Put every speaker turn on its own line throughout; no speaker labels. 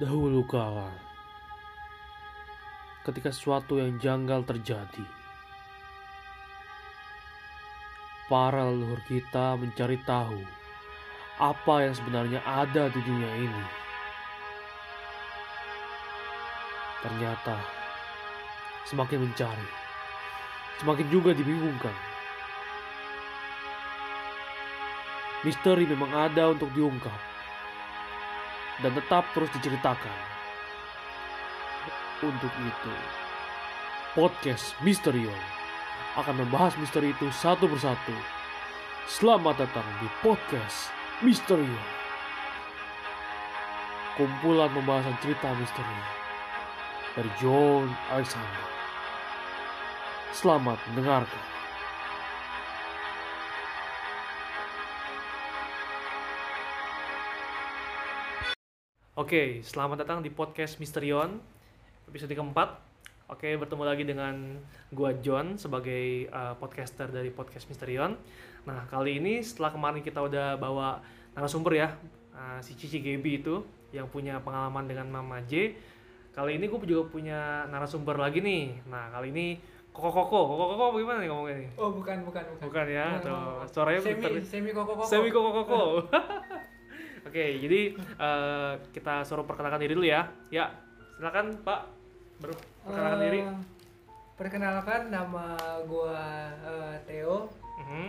Dahulu kala, ketika sesuatu yang janggal terjadi, para leluhur kita mencari tahu apa yang sebenarnya ada di dunia ini. Ternyata, semakin mencari, semakin juga dibingungkan. Misteri memang ada untuk diungkap dan tetap terus diceritakan. Untuk itu, podcast Misterio akan membahas misteri itu satu persatu. Selamat datang di podcast Misterio. Kumpulan pembahasan cerita misteri dari John Alexander. Selamat mendengarkan. Oke, selamat datang di podcast Misterion episode keempat. Oke, bertemu lagi dengan gua John sebagai uh, podcaster dari podcast Misterion. Nah, kali ini setelah kemarin kita udah bawa narasumber ya, uh, si Cici Gebi itu yang punya pengalaman dengan Mama J. Kali ini gue juga punya narasumber lagi nih. Nah, kali ini Koko Koko, Koko Koko bagaimana nih ngomongnya nih?
Oh bukan bukan bukan.
Bukan ya,
Bukan,
tuh.
bukan.
Suaranya
semi
bentar-
semi koko koko.
Semi koko koko. Oke, jadi eh, kita suruh perkenalkan diri dulu ya. Ya, silakan Pak. Baru perkenalkan
Eh,
diri.
Perkenalkan nama gua eh, Theo.
Mhm.
Eh,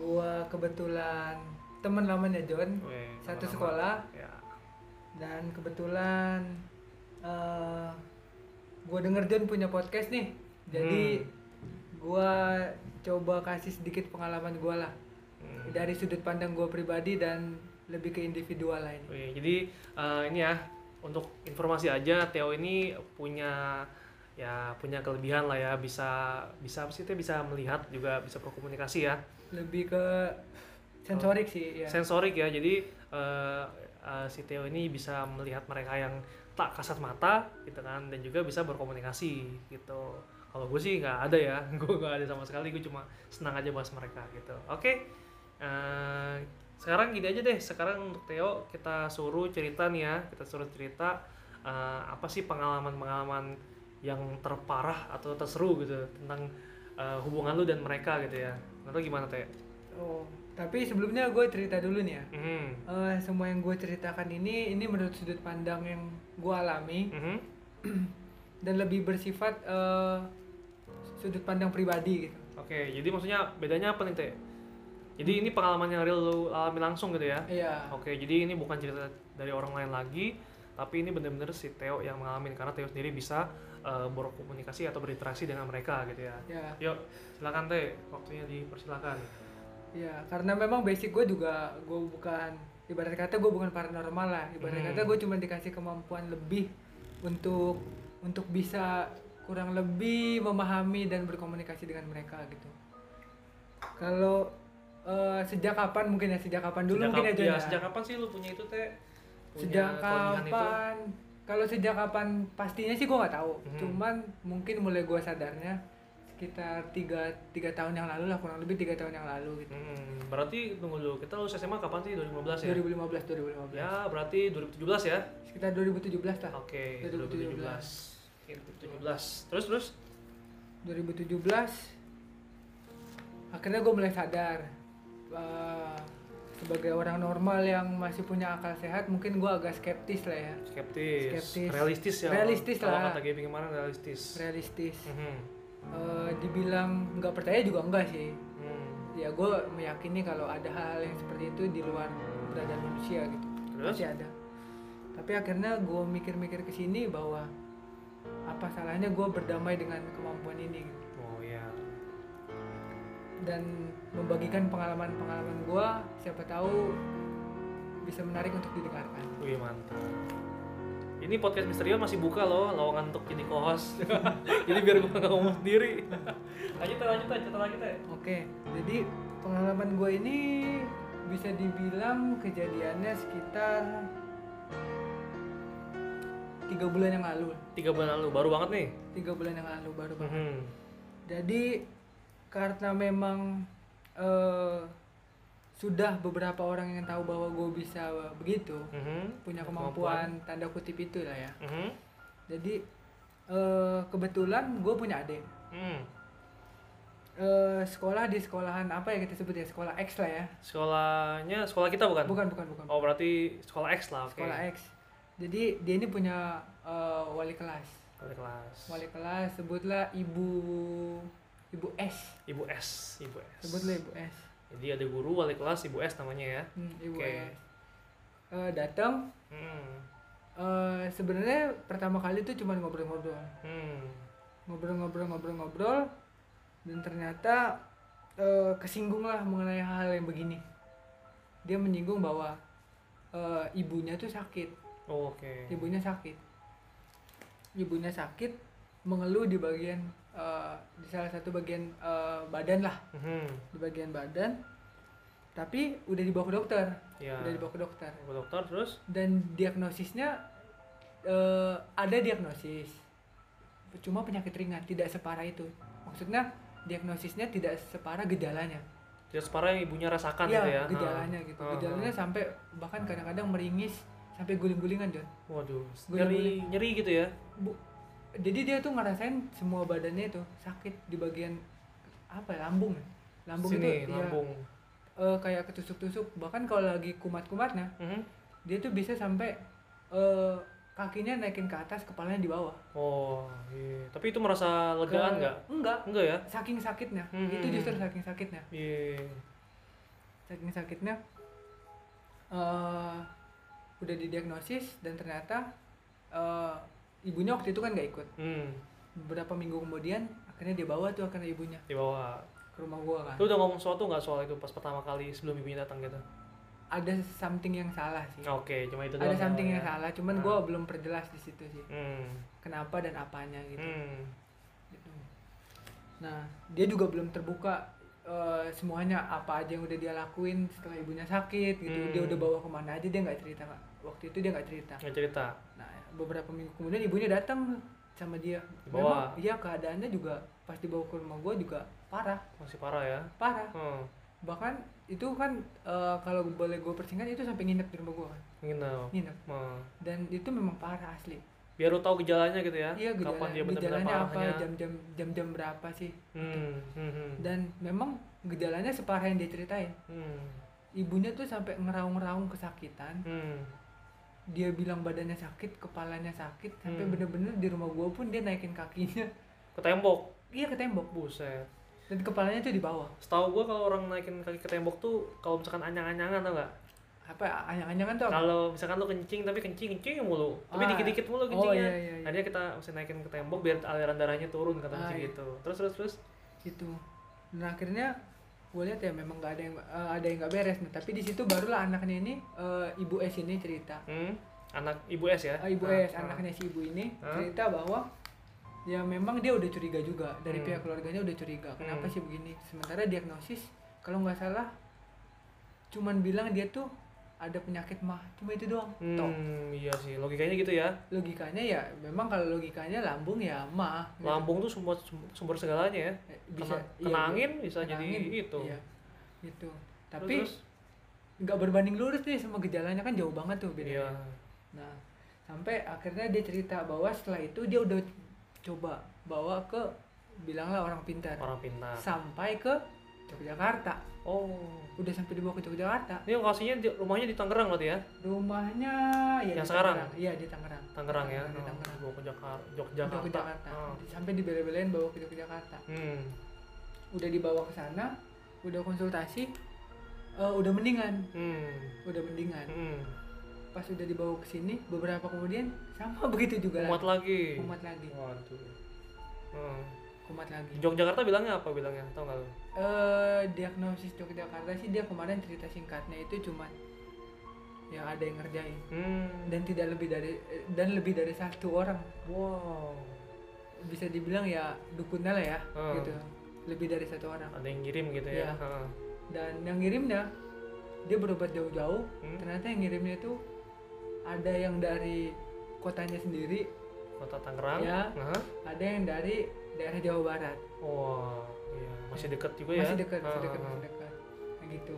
gua kebetulan teman lamanya John.
Weh,
Satu
nama-nama.
sekolah
Ya.
dan kebetulan eh gua denger John punya podcast nih.
Hmm.
Jadi gua coba kasih sedikit pengalaman gua lah
Hmm.
dari sudut pandang gua pribadi dan lebih ke individual lah ini.
Oke, jadi eh, ini ya untuk informasi aja Theo ini punya ya punya kelebihan lah ya bisa bisa apa sih Teh? bisa melihat juga bisa berkomunikasi ya
lebih ke sensorik sih ya
sensorik ya jadi eh, eh, si Theo ini bisa melihat mereka yang tak kasat mata gitu kan dan juga bisa berkomunikasi gitu kalau gue sih nggak ada ya gue nggak ada sama sekali gue cuma senang aja bahas mereka gitu oke eh, sekarang gini aja deh sekarang untuk Theo kita suruh cerita nih ya kita suruh cerita eh, apa sih pengalaman-pengalaman yang terparah atau terseru gitu tentang eh, hubungan lu dan mereka gitu ya menurut lu gimana Theo?
oh tapi sebelumnya gue cerita dulu nih ya
Mhm.
Eh, semua yang gue ceritakan ini ini menurut sudut pandang yang gue alami
Mhm.
dan lebih bersifat eh, sudut pandang pribadi gitu
Oke, jadi maksudnya bedanya apa nih Teh? Jadi ini pengalaman yang real lu alami langsung gitu ya?
iya
Oke, jadi ini bukan cerita dari orang lain lagi, tapi ini bener-bener si Theo yang mengalami karena Theo sendiri bisa eh, berkomunikasi atau berinteraksi dengan mereka gitu ya.
ya
Yuk, silakan Teh, waktunya dipersilakan.
ya karena memang basic gue juga gue bukan ibarat kata gue bukan paranormal lah ibarat
Hmm.
kata gue cuma dikasih kemampuan lebih untuk untuk bisa kurang lebih memahami dan berkomunikasi dengan mereka gitu kalau eh, sejak kapan mungkin ya sejak kapan dulu mungkin
kap-
aja
ya,
ya.
sejak kapan sih lu punya itu Teh? Punya
Sejak
kelebihan itu?
kapan kalau sejak kapan pastinya sih gue nggak tahu
Mhm.
cuman mungkin mulai gue sadarnya sekitar tiga tiga tahun yang lalu lah kurang lebih tiga tahun yang lalu gitu
Hmm, berarti tunggu dulu, kita lulus SMA kapan sih? 2015 ya?
2015 2015
Ya, berarti 2017 ya?
sekitar 2017 lah
Oke,
2017.
2017. 2017. Terus terus?
2017 akhirnya gue mulai sadar Eh, sebagai orang normal yang masih punya akal sehat mungkin gue agak skeptis lah ya
Skeptis.
Skeptis.
Realistis ya.
Realistis
Kalau
lah.
kata gaming kemarin realistis.
realistis
Mhm.
Eh, dibilang nggak percaya juga enggak sih
Hmm.
ya gue meyakini kalau ada hal yang seperti itu di luar keberadaan manusia gitu
Terus?
pasti ada tapi akhirnya gue mikir-mikir kesini bahwa apa salahnya gue berdamai dengan kemampuan ini gitu.
Oh ya.
dan membagikan pengalaman-pengalaman gue siapa tahu bisa menarik untuk didengarkan
Wih mantap. Ini podcast Misterion masih buka loh lowongan untuk jadi co-host. jadi biar gua nggak ngomong sendiri. lanjut Teh, lanjut Teh, cerita lagi Teh.
Oke, jadi pengalaman gue ini bisa dibilang kejadiannya sekitar tiga bulan yang lalu,
Tiga bulan lalu baru banget nih.
tiga bulan yang lalu baru banget.
Mhm.
Jadi karena memang eh, sudah beberapa orang yang tahu bahwa gue bisa begitu
Mhm.
punya
Kemampuan.
kemampuan tanda kutip itu lah ya
Mhm.
jadi eh, kebetulan gue punya adik
Hmm.
Eh, sekolah di sekolahan apa ya kita sebut ya sekolah X lah ya
Sekolahnya sekolah kita bukan?
bukan bukan bukan
Oh berarti sekolah X lah, oke.
sekolah X jadi dia ini punya eh, wali kelas
Wali kelas.
wali kelas sebutlah ibu ibu S
Ibu S, Ibu S.
sebutlah ibu S
Jadi ada guru wali kelas Ibu S namanya ya.
Hmm, ibu
Oke.
S Eh, datang
Hmm.
eh, sebenarnya pertama kali tuh cuma ngobrol-ngobrol
Hmm.
ngobrol-ngobrol-ngobrol-ngobrol dan ternyata eh, kesinggung lah mengenai hal-hal yang begini dia menyinggung bahwa eh, ibunya tuh sakit
Oh, oke.
ibunya sakit ibunya sakit mengeluh di bagian eh, di salah satu bagian eh, badan lah
Mhm.
di bagian badan tapi udah dibawa ke dokter
Ya.
udah dibawa ke dokter
Ke dokter terus?
dan diagnosisnya eh, ada diagnosis cuma penyakit ringan tidak separah itu maksudnya diagnosisnya tidak separah gejalanya
Dia separah yang ibunya rasakan
Iya,
gitu ya. oh.
gejalanya
Ha.
gitu
Ha, ha.
gejalanya sampai bahkan kadang-kadang meringis sampai guling-gulingan John
Waduh,
Gua
nyeri nyeri gitu ya.
Bu, jadi dia tuh ngerasain semua badannya itu sakit di bagian apa ya, lambung ya? lambung
Sini,
itu ya,
lambung.
eh, kayak ketusuk-tusuk bahkan kalau lagi kumat-kumatnya
Mhm.
dia tuh bisa sampai eh, kakinya naikin ke atas kepalanya di bawah
Oh, iya. Tapi itu merasa legaan
Ke-
nggak?
enggak
Enggak ya?
saking sakitnya
Hmm,
itu
hmm,
justru
hmm.
saking sakitnya
Iya.
saking sakitnya eh udah didiagnosis dan ternyata eh, ibunya waktu itu kan nggak ikut
Hmm.
beberapa minggu kemudian akhirnya dia bawa tuh akhirnya ibunya
Di bawah.
ke rumah gua kan
Lu udah ngomong sesuatu nggak soal itu pas pertama kali sebelum ibunya datang gitu?
ada something yang salah sih
Oke, cuma Oh, itu
ada
doang
something
ya.
yang salah cuman
Hmm.
gua belum perjelas di situ sih
Hmm.
kenapa dan apanya gitu
Hmm.
gitu. Nah, dia juga belum terbuka eh, semuanya apa aja yang udah dia lakuin setelah ibunya sakit gitu.
Hmm. Iya.
Dia udah bawa kemana aja dia nggak cerita Kak. Waktu itu dia nggak cerita.
Nggak cerita.
Nah, beberapa minggu kemudian ibunya datang sama dia.
Dibawa.
Memang iya keadaannya juga pas dibawa ke rumah gua juga parah,
Masih parah ya.
parah.
Hmm.
Bahkan itu kan eh, kalau boleh gue persingkat itu sampai nginep di rumah gua kan.
Nginep.
Nginep.
Hmm.
Dan itu memang parah asli.
Biar lu tahu gejalanya gitu ya. Kapan
Iya, gejala,
dia benar-benar
gejalanya apa,
parahnya.
jam-jam jam-jam berapa sih?
Hmm. Hmm. hmm.
dan memang gejalanya separah yang dia ceritain
Hmm.
ibunya tuh sampai ngeraung-raung kesakitan
Hmm.
dia bilang badannya sakit kepalanya sakit sampai
Hmm.
bener-bener di rumah gua pun dia naikin kakinya
Ke tembok.
iya ke tembok
Buset.
dan kepalanya tuh di bawah
Setahu gua kalau orang naikin kaki ke tembok tuh kalau misalkan anyang-anyangan tau nggak?
apa ya, anyang-anyangan tuh apa?
Kalau misalkan lu kencing tapi kencing kencing mulu, tapi
Ah.
dikit-dikit mulu
Oh,
kencingnya.
iya, iya, iya.
Akhirnya kita mesti naikin ke tembok biar aliran darahnya turun kata
Ah,
kucing
iya.
gitu. Terus terus terus.
gitu dan akhirnya gue lihat ya memang nggak ada yang eh, ada yang nggak beres nih tapi di situ barulah anaknya ini eh, ibu S ini cerita
Hmm. Anak ibu S ya?
Eh, ibu
Ah,
S
ah.
anaknya si ibu ini
Ah.
cerita bahwa ya memang dia udah curiga juga dari
Hmm.
pihak keluarganya udah curiga
Hmm.
kenapa sih begini sementara diagnosis kalau nggak salah cuman bilang dia tuh ada penyakit mah cuma itu doang Toh,
Hmm, iya sih. Logikanya gitu ya.
logikanya ya memang kalau logikanya lambung ya mah gitu.
Lambung tuh sumber sumber segalanya ya.
Eh,
Kena,
iya,
kena
iya.
angin bisa
Kena
jadi
angin,
itu.
iya. gitu
Terus,
tapi
terus,
nggak berbanding lurus nih sama gejalanya kan jauh banget tuh bedanya
iya.
Nah, sampai akhirnya dia cerita bahwa setelah itu dia udah coba bawa ke bilanglah orang pintar.
orang pintar.
Sampai ke Yogyakarta.
Oh.
Udah sampai dibawa ke Yogyakarta.
Ini lokasinya di, rumahnya di Tangerang berarti ya?
Rumahnya ya
Yang
di
sekarang?
Tangerang. Iya, di Tangerang.
Tangerang ya.
Iya, Di
Oh,
Tangerang.
Bawa ke Jakar-
Udah
Yogyakarta.
ke Jakarta.
Oh.
Sampai dibele-belain bawa ke Yogyakarta.
Hmm.
Udah dibawa ke sana, udah konsultasi, eh, udah mendingan,
Hmm.
udah mendingan.
Hmm.
Pas udah dibawa ke sini, beberapa kemudian sama begitu juga.
Kumat
lagi.
lagi.
Kumat lagi.
Waduh. Hmm.
Kumat lagi.
Di Yogyakarta bilangnya apa bilangnya? Tahu nggak lu?
eh diagnosis Yogyakarta sih dia kemarin cerita singkatnya itu cuman yang ada yang ngerjain
Hmm.
dan tidak lebih dari eh, dan lebih dari satu orang
Wow.
bisa dibilang ya dukunnya lah ya
Hmm.
gitu lebih dari satu orang
Ada yang ngirim gitu ya?
Iya.
Heeh.
dan yang ngirimnya dia berobat jauh-jauh
Hmm.
ternyata yang ngirimnya itu ada yang dari kotanya sendiri
Kota Tangerang.
Iya.
Heeh.
ada yang dari daerah Jawa Barat
Wah, iya. Ah. masih dekat juga ya?
masih dekat masih
Heeh,
dekat
heeh.
masih dekat Nah, gitu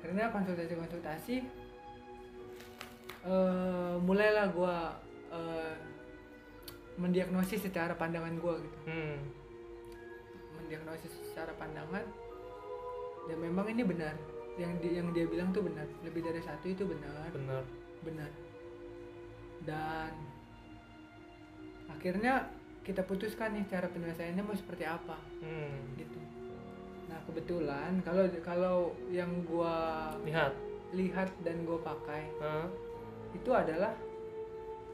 akhirnya konsultasi-konsultasi eh, mulailah gue mendiagnosis secara pandangan gue gitu
Hmm.
mendiagnosis secara pandangan dan memang ini benar yang di- yang dia bilang tuh benar lebih dari satu itu benar
Bener.
benar dan akhirnya kita putuskan nih cara penyelesaiannya mau seperti apa
Hmm.
gitu nah kebetulan kalau kalau yang gua
Lihat.
lihat dan gua pakai
Hah?
itu adalah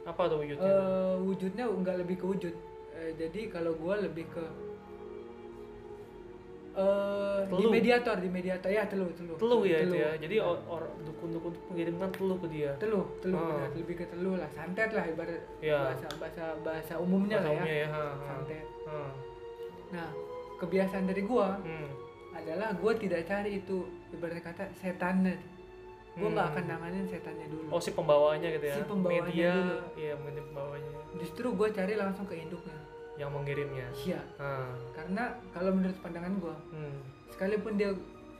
Apa tuh wujudnya?
eh, wujudnya nggak lebih ke wujud Eh, jadi kalau gua lebih ke eh di
Telu.
mediator di mediator ya telu telu
Telu ya itu
telu.
ya. Jadi or, or- dukun-dukun tuh mengirimkan telu ke dia.
telu telu
Ah.
benar, lebih ke telu lah santet lah ibarat
Ya.
bahasa bahasa bahasa umumnya
Bahasa
lah ya,
umumnya ya. ha, ha.
santet
Ha.
nah kebiasaan dari gua
Hmm.
adalah gua tidak cari itu ibarat kata setannya gua nggak
Hmm.
akan nanganin setannya dulu
Oh si pembawanya gitu ya.
Si pembawanya
Media.
dulu.
Iya media pembawanya.
justru gua cari langsung ke induknya
Yang mengirimnya.
iya
Ah.
karena kalau menurut pandangan gua
Hmm.
sekalipun dia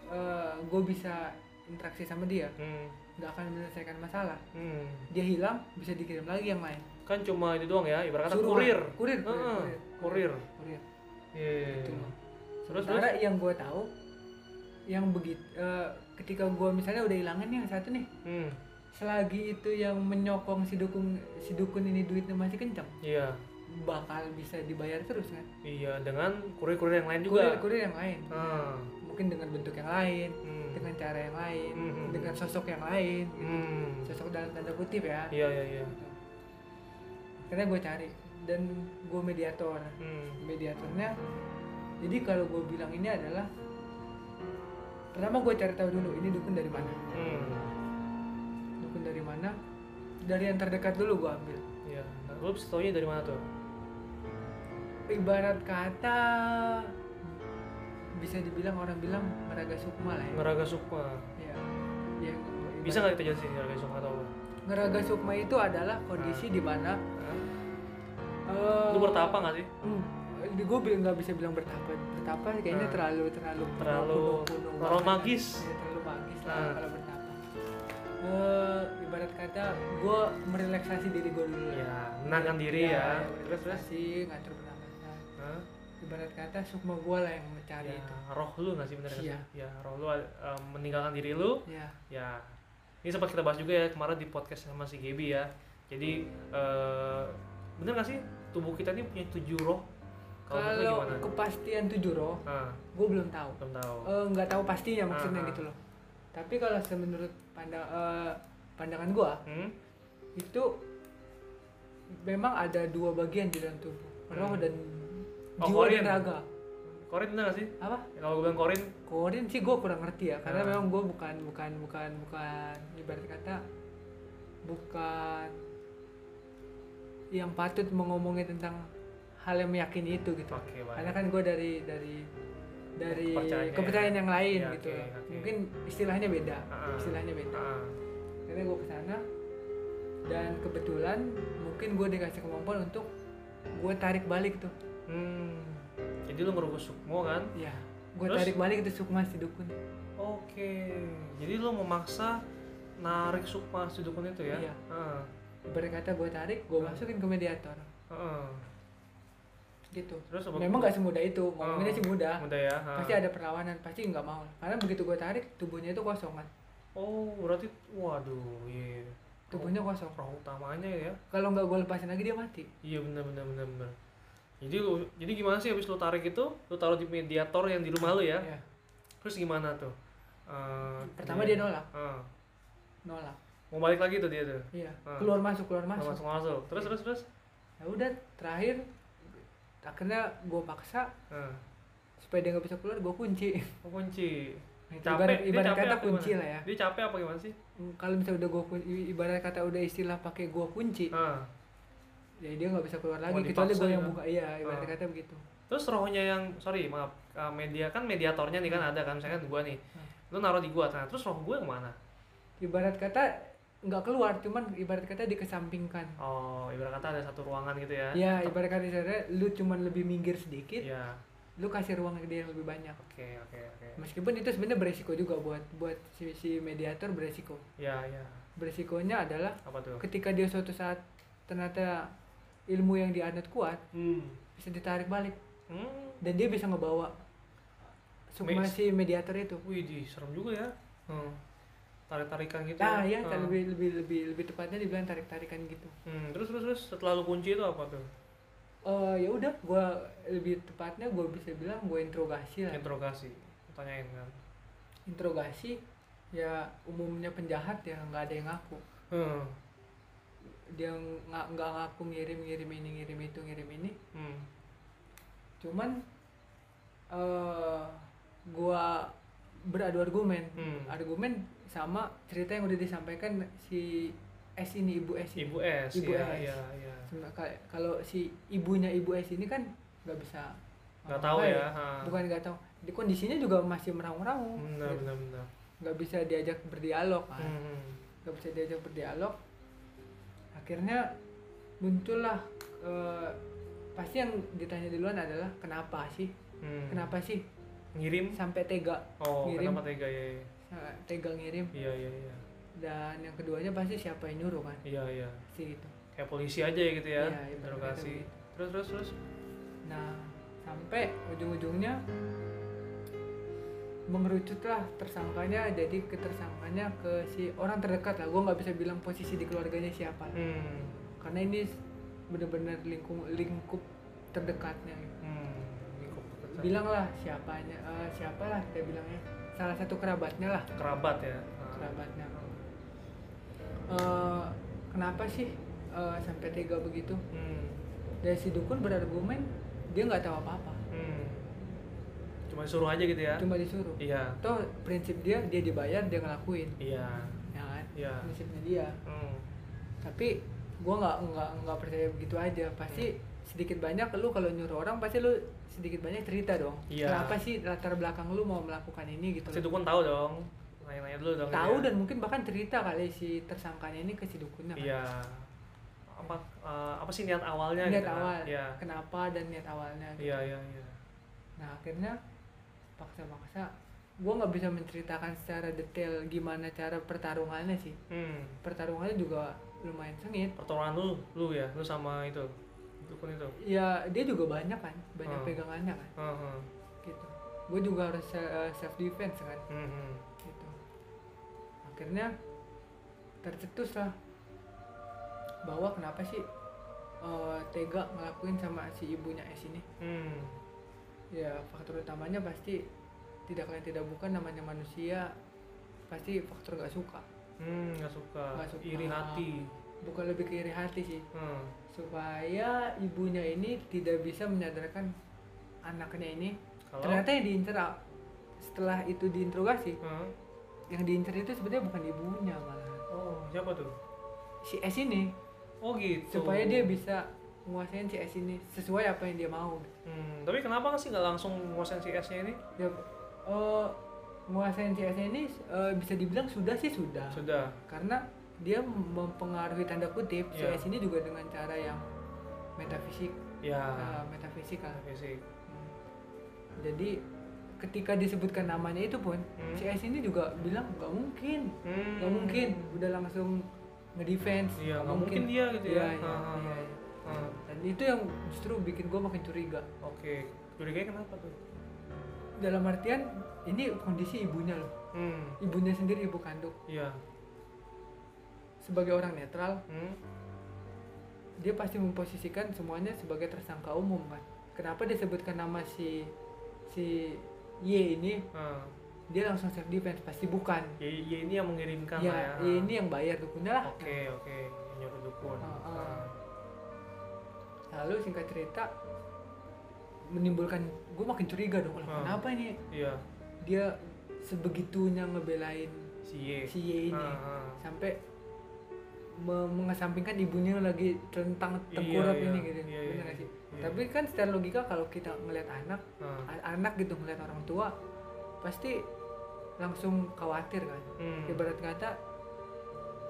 eh, gua bisa interaksi sama dia
Hmm.
nggak akan menyelesaikan masalah
Hmm.
dia hilang bisa dikirim lagi yang lain
Kan cuma itu doang ya. Ibarat kata
Suruhan.
kurir.
kurir kurir,
Ah,
kurir,
kurir.
kurir.
Iya.
Gitu loh.
Terus terus.
Sementara yang gue tahu yang begitu ketika gue misalnya udah hilangin nih yang satu nih
Hmm.
selagi itu yang menyokong si dukun si dukun ini duitnya masih kencang
Iya.
bakal bisa dibayar terus kan
Iya dengan kurir-kurir yang lain juga.
kurir kurir yang lain
Ah.
mungkin dengan bentuk yang lain
Hmm.
dengan gitu. cara yang lain
Mhm.
dengan sosok yang lain
Hmm.
sosok dalam tanda kutip ya
Iya iya iya.
akhirnya gue cari dan gue mediator
Hmm.
mediatornya jadi kalau gue bilang ini adalah pertama gue cari tahu dulu ini dukun dari mana
Hmm.
dukun dari mana dari yang terdekat dulu gue ambil
Iya. Nah, lu taunya dari mana tuh?
ibarat kata bisa dibilang orang bilang meraga sukma lah ya,
Ngeraga Sukma.
ya. ya, ibarat-
Bisa nggak kita jelasin Ngeraga Sukma atau apa?
ngeraga sukma itu adalah kondisi di mana
Hah?
eh,
Lu bertapa nggak sih?
hmm, di gue bi- nggak bisa bilang bertapa bertapa kayaknya
Nah.
terlalu terlalu
Terlalu-
kuno-kuno
terlalu
banget.
magis.
Iya, terlalu magis lah
Nah.
kalau bertapa Eh, ibarat kata gue merelaksasi diri gue dulu
Iya. Menangkan diri ya. Terus terus.
sih ngatur pernapasan
Hah?
ibarat kata sukma gue lah yang
Ya,
mencari itu
roh lu nggak sih bener nggak sih?
Iya.
Ya, roh lu eh, meninggalkan diri lu
ya
ya ini sempat kita bahas juga ya kemarin di podcast sama si Gaby ya jadi eh, bener gak sih tubuh kita ini punya tujuh roh kalau menurut lu
kalau
gimana
kepastian tujuh roh
ah
gue belum tahu
belum tahu
Eh, nggak tahu pastinya maksudnya
Ah, ah.
gitu loh tapi kalau menurut pandang eh, pandangan gue
hmm?
itu memang ada dua bagian di dalam tubuh roh
Hmm.
dan
Oh,
jiwa
korin.
dan raga
korin bener gak sih Ya,
apa
kalau gue bilang korin
korin sih gue kurang ngerti ya karena
Ah.
memang gue bukan bukan bukan bukan ibarat kata bukan yang patut mengomongi tentang hal yang meyakini itu gitu
oke
karena
baik
kan gue dari dari dari
Kepercayaan ya.
kepercayaan yang lain
Iya,
gitu
oke,
loh.
oke.
mungkin istilahnya beda
Ah.
istilahnya beda
Ah,
akhirnya gue kesana dan kebetulan mungkin gue dikasih kemampuan untuk gue tarik balik tuh
hmm. jadi lu ngerugus sukmo kan
ya gue
Terus?
tarik balik itu sukma si dukun
oke jadi lu memaksa narik sukma si dukun itu ya
Iya.
Ah,
ibarat kata gue tarik gue masukin ke mediator
ah.
gitu
terus apa-
memang gak semudah itu ngomonginnya sih mudah
mudah ya ah.
pasti ada perlawanan pasti nggak mau karena begitu gue tarik tubuhnya itu kosong kan
oh berarti waduh iya
tubuhnya kosong
roh utamanya ya
kalau nggak gue lepasin lagi dia mati
iya benar benar benar benar jadi lu jadi gimana sih habis lu tarik itu lu taruh di mediator yang di rumah lu ya
Iya.
terus gimana tuh Eh,
pertama dia nolak
Ah,
nolak
mau balik lagi tuh dia tuh
iya
Ah.
keluar masuk keluar
Nggak
masuk
masuk masuk terus terus terus
ya udah terakhir akhirnya gue paksa
Ah,
supaya dia nggak bisa keluar gue kunci Nah,
oh, kunci
ibarat,
Dia
ibarat
capek
kata
apa
kunci
gimana?
lah ya
dia capek apa gimana sih
Mm, kalau misalnya udah gua kun- i- ibarat kata udah istilah pakai gua kunci
Ah,
ya dia nggak bisa
Oh,
keluar lagi kecuali
dipaksa
gua yang
ya?
buka iya ibarat
Ah.
kata begitu
terus rohnya yang sorry maaf eh, media kan mediatornya nih kan ada kan misalkan gua nih
Hmm.
lu naruh di gua nah terus roh gua yang mana
ibarat kata nggak keluar cuman ibarat kata dikesampingkan
oh ibarat kata ada satu ruangan gitu ya
Iya, ya ibarat kata misalnya lu cuman lebih minggir sedikit
ya
lu kasih ruang ke dia yang lebih banyak
oke oke oke
meskipun itu sebenarnya beresiko juga buat buat si, si mediator beresiko
ya ya
beresikonya adalah
apa tuh
ketika dia suatu saat ternyata ilmu yang dianut kuat
hmm
bisa ditarik balik
hmm
dan dia bisa ngebawa sukma
Mix.
si mediator itu
wih di serem juga ya hmm. tarik tarikan gitu
nah ya
Hmm.
lebih lebih lebih lebih tepatnya dibilang tarik tarikan gitu
hmm. terus terus terus setelah lu kunci itu apa tuh
Eh ya udah gua lebih tepatnya gua bisa bilang gua interogasi
Iya.
lah
interogasi tanyain kan
interogasi ya umumnya penjahat ya nggak ada yang ngaku
hmm
dia nggak nggak ngaku ngirim ngirim ini ngirim itu ngirim ini
hmm
cuman eh gua beradu argumen
Hmm.
argumen sama cerita yang udah disampaikan si S ini ibu S ini.
ibu S
Ibu
ya,
S.
ya ya
Sebenarnya kal- kalau si ibunya ibu S ini kan nggak bisa
nggak tahu
ngapa-ngapain.
ya ha.
bukan nggak tahu di kondisinya juga masih meraung-raung
benar benar benar
nggak bisa diajak berdialog kan
hmm.
nggak bisa diajak berdialog akhirnya muncullah eh, pasti yang ditanya duluan adalah kenapa sih
Hmm.
kenapa sih
ngirim
sampai tega
oh
Ngirim.
kenapa tega ya
eh, tega ngirim
iya iya iya
dan yang keduanya pasti siapa yang nyuruh kan
iya iya
pasti gitu
kayak polisi aja ya gitu ya
Iya, gitu. ibaratnya
interogasi
begitu.
terus terus terus
nah sampai ujung-ujungnya mengerucutlah tersangkanya jadi ketersangkanya ke si orang terdekat lah gue nggak bisa bilang posisi di keluarganya siapa
hmm
karena ini bener-bener lingkup lingkup terdekatnya gitu.
hmm lingkup dekat.
bilanglah siapanya eh, siapalah dia bilangnya salah satu kerabatnya lah
kerabat ya Ah.
kerabatnya Eh, kenapa sih eh, sampai tega begitu
hmm
dari si dukun berargumen dia nggak tahu apa-apa
hmm cuma suruh aja gitu ya
cuma disuruh
iya
atau prinsip dia dia dibayar dia ngelakuin
iya
ya kan
iya
prinsipnya dia
hmm
tapi gua nggak nggak nggak percaya begitu aja pasti
Iya.
sedikit banyak lu kalau nyuruh orang pasti lu sedikit banyak cerita dong
Iya.
kenapa sih latar belakang lu mau melakukan ini gitu
pasti
loh.
dukun tahu dong nanya-nanya dulu dong
tahu
gitu ya.
dan mungkin bahkan cerita kali si tersangkanya ini ke si dukunnya kan.
iya apa eh, apa sih niat awalnya
niat
gitu kan?
awal
iya
kenapa dan niat awalnya gitu.
iya iya iya
nah akhirnya paksa-paksa gua nggak bisa menceritakan secara detail gimana cara pertarungannya sih
hmm
pertarungannya juga lumayan sengit
pertolongan lu lu ya lu sama itu dukun itu
ya dia juga banyak kan banyak
Hmm.
pegangannya kan
Heeh.
gitu gue juga harus self defense kan
Hmm.
gitu akhirnya tercetus lah bahwa kenapa sih eh, tega ngelakuin sama si ibunya S ini
Hmm.
ya faktor utamanya pasti tidak lain tidak bukan namanya manusia pasti faktor gak suka
Hmm, nggak suka.
Nggak suka.
Iri hati.
bukan lebih ke iri hati sih
Hmm.
supaya ibunya ini tidak bisa menyadarkan anaknya ini
Kalau
ternyata yang diincer setelah itu diinterogasi
Heeh.
yang diincer itu sebenarnya bukan ibunya malah
Oh, siapa tuh?
si S ini
Oh, gitu.
supaya dia bisa menguasain si S ini sesuai apa yang dia mau
Hmm, tapi kenapa sih nggak langsung nguasain si S-nya ini?
ya eh, menguasain si S ini eh, bisa dibilang sudah sih sudah
Sudah.
karena dia mempengaruhi tanda kutip
Iya.
si S ini juga dengan cara yang metafisik
Ya.
eh, metafisikal
Oke sih.
Hmm. jadi ketika disebutkan namanya itu pun
Hmm.
si S ini juga bilang nggak mungkin
Hmm.
nggak mungkin udah langsung ngedefense
Iya, nggak mungkin dia gitu ya.
Iya, iya,
Ah, ah,
iya,
ah.
iya.
Hmm.
dan itu yang justru bikin gue makin curiga
Oke. Curiganya kenapa tuh?
dalam artian ini kondisi ibunya loh
Hmm.
ibunya sendiri ibu kandung
Iya.
sebagai orang netral
Hmm.
dia pasti memposisikan semuanya sebagai tersangka umum kan kenapa dia sebutkan nama si si Y ini
Ah.
dia langsung self defense pasti bukan
Ya, ya ini yang mengirimkan lah
ya,
ya.
Y ini yang bayar dukunnya lah
Oke, oke. Yang nyuruh dukun.
Ah, ah.
Ah.
lalu singkat cerita menimbulkan gue makin curiga dong lah
Hmm.
kenapa ini
Iya.
dia sebegitunya ngebelain
Si Y.
si Y ini
Ah, ah.
sampai me- mengesampingkan ibunya yang lagi tentang
Iya,
tengkurap
iya.
ini gitu
Iya,
Bener
iya,
nggak sih?
iya.
tapi kan secara logika kalau kita ngelihat anak
Ah.
a- anak gitu ngelihat orang tua pasti langsung khawatir kan
Hmm.
ibarat kata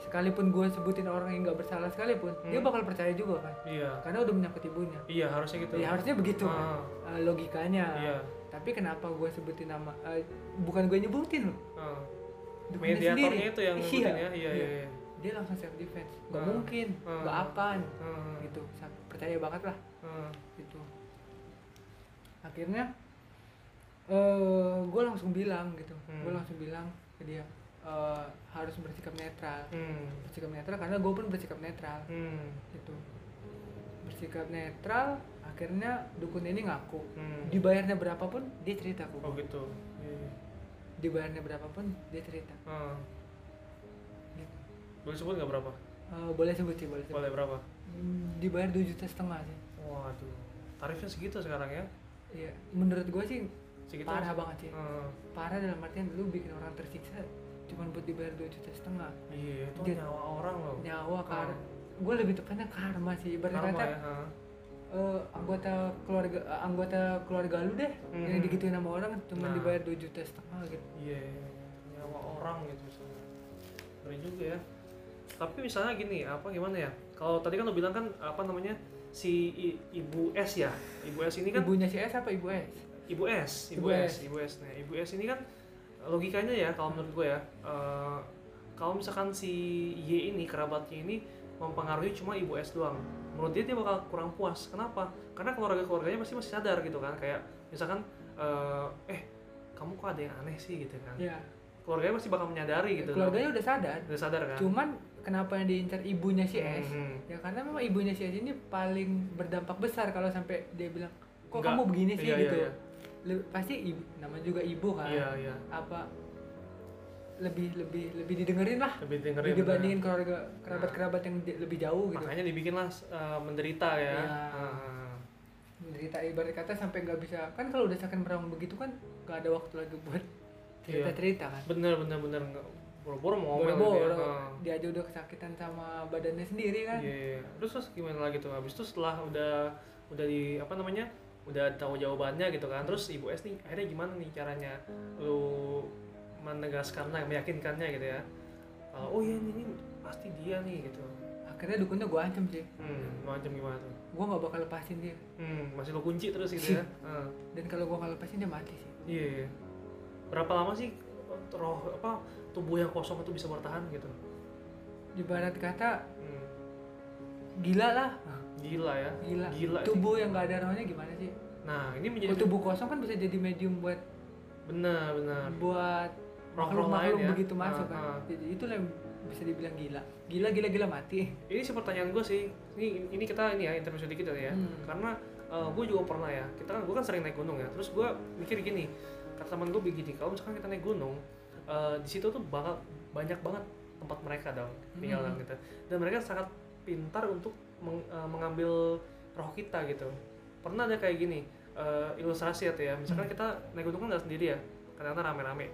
sekalipun gue sebutin orang yang nggak bersalah sekalipun dia
Hmm.
bakal percaya juga kan
iya
karena udah menyangkut ibunya
iya harusnya gitu
ya harusnya begitu kan
Ah.
eh, logikanya
Iya.
tapi kenapa gue sebutin nama eh, bukan gue nyebutin loh
Ah.
Dukunnya
mediatornya
sendiri.
itu yang
Iya.
ngurusin ya iya iya iya
dia langsung self defense nggak
Ah.
mungkin
Ah.
nggak apaan
Ah.
gitu Sa- percaya banget lah
Ah.
gitu akhirnya eh gue langsung bilang gitu
Hmm.
gue langsung bilang ke dia eh, harus bersikap netral
hmm
bersikap netral karena gue pun bersikap netral
hmm
gitu bersikap netral akhirnya dukun ini ngaku
hmm
dibayarnya berapapun dia cerita ke
oh
gua.
gitu iya iya.
dibayarnya berapapun dia cerita
Ah.
gitu.
boleh sebut nggak berapa
Eh, boleh sebut sih boleh sebut
boleh berapa
Hmm, dibayar dua juta setengah sih
waduh tarifnya segitu sekarang ya
iya menurut gue sih
segitu
parah banget sih
Ah.
parah dalam artian lu bikin orang tersiksa cuma buat dibayar dua juta setengah
iya itu
Dia-
nyawa orang loh
nyawa kar
Oh.
gue lebih tepatnya karma sih ibaratnya
karma
kata
ya ah.
eh, anggota keluarga eh, anggota keluarga lu deh yang
Mhm.
digituin sama orang cuma
Nah.
dibayar 2 juta setengah gitu
iya iya, iya. nyawa orang gitu misalnya keren juga ya tapi misalnya gini apa gimana ya kalau tadi kan lo bilang kan apa namanya si I- ibu S ya ibu S ini kan Nah,
ibunya si S apa ibu S
ibu S ibu,
Ibu
S.
S.
ibu S nah ibu S ini kan logikanya ya kalau menurut gue ya eh, kalau misalkan si Y ini kerabatnya ini mempengaruhi cuma ibu S doang menurut dia dia bakal kurang puas kenapa karena keluarga keluarganya pasti masih sadar gitu kan kayak misalkan eh, eh kamu kok ada yang aneh sih gitu kan
ya
keluarganya pasti bakal menyadari gitu
keluarganya udah sadar
udah sadar kan
cuman kenapa yang diincar ibunya si S
Mhm.
ya karena memang ibunya si S ini paling berdampak besar kalau sampai dia bilang kok
Enggak.
kamu begini sih
Iya, iya,
gitu
iya.
Lebih- pasti ibu namanya juga ibu kan
iya iya
apa lebih lebih lebih didengerin lah
lebih dengerin gitu ya.
dibandingin keluarga kerabat kerabat yang di- lebih jauh gitu
makanya dibikinlah eh, menderita ya
Iya.
Ah.
menderita ibarat kata sampai nggak bisa kan kalau udah sakit meraung begitu kan nggak ada waktu lagi
Iya.
buat cerita cerita kan
bener bener bener nggak boro-boro mau ngomel gitu ya.
boro-boro
Ah.
dia aja udah kesakitan sama badannya sendiri kan
Iya, iya. terus terus gimana lagi tuh habis itu setelah udah udah di apa namanya udah tahu jawabannya gitu kan terus ibu S nih akhirnya gimana nih caranya lu menegaskannya meyakinkannya gitu ya kalau oh iya ini, ini pasti dia nih gitu
akhirnya dukunnya gue ancam sih
hmm macam gimana tuh
gue nggak bakal lepasin dia
hmm masih lo kunci terus gitu ya Ah.
dan kalau gue nggak lepasin dia mati sih
iya iya. berapa lama sih roh apa tubuh yang kosong itu bisa bertahan gitu
ibarat kata
hmm.
gila lah
gila ya
gila,
gila sih.
tubuh yang nggak ada rohnya gimana sih
nah ini menjadi
Kalau tubuh kosong kan bisa jadi medium buat
benar benar
buat
Roh-roh lain
makhluk-makhluk
ya.
begitu masuk
Ah, ah.
kan jadi itulah yang bisa dibilang gila gila gila gila mati
ini sih pertanyaan gue sih ini ini kita ini ya interview sedikit kali ya
Hmm.
karena gue juga pernah ya kita kan gue kan sering naik gunung ya terus gue mikir gini kata teman gue begini kalau misalkan kita naik gunung eh, di situ tuh bakal banyak banget tempat mereka dong tinggal
Hmm.
gitu dan mereka sangat pintar untuk meng- eh, mengambil roh kita gitu pernah ada kayak gini eh, ilustrasi ya tuh ya misalkan
Hmm.
kita naik gunung kan nggak sendiri ya kadang-kadang rame-rame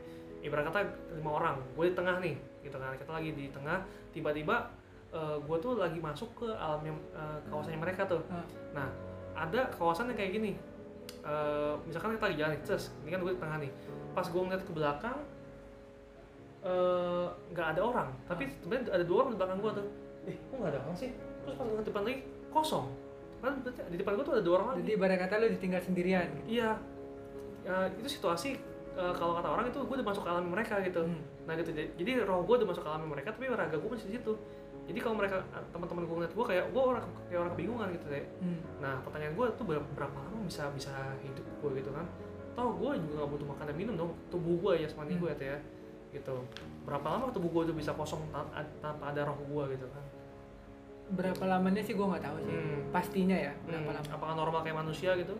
ibarat kata lima orang gue di tengah nih gitu kan kita lagi di tengah tiba-tiba gue tuh lagi masuk ke alamnya eh, kawasannya mereka tuh
Ah.
nah ada kawasan yang kayak gini Eh, misalkan kita lagi jalan nih, ces, ini kan gue di tengah nih pas gue ngeliat ke belakang eh, nggak ada orang tapi sebenarnya ada dua orang di belakang gue tuh Hmm. eh kok nggak ada orang sih terus pas gue ke depan lagi kosong kan berarti di depan gue tuh ada dua orang lagi
jadi ibarat kata lu ditinggal sendirian gitu.
Iya, Ya, itu situasi eh, kalau kata orang itu gue udah masuk ke alam mereka gitu.
Hmm.
Nah gitu, jadi- jadi roh gue udah masuk ke alam mereka, tapi raga gue masih di situ. Jadi kalau mereka eh, teman-teman gue ngeliat gue kayak gue orang kayak orang kebingungan gitu deh.
Hmm.
Nah pertanyaan gue tuh ber- berapa lama bisa bisa hidup gue gitu kan? Tau gue juga gak butuh makan dan minum dong, tubuh gue ya semani
Hmm.
gue ya, gitu. Berapa lama tubuh gue tuh bisa kosong tan- a- tanpa ada roh gue gitu kan?
berapa lamanya sih gue nggak tahu sih
Hmm.
pastinya ya
Hmm,
berapa lama
Apakah normal kayak manusia gitu?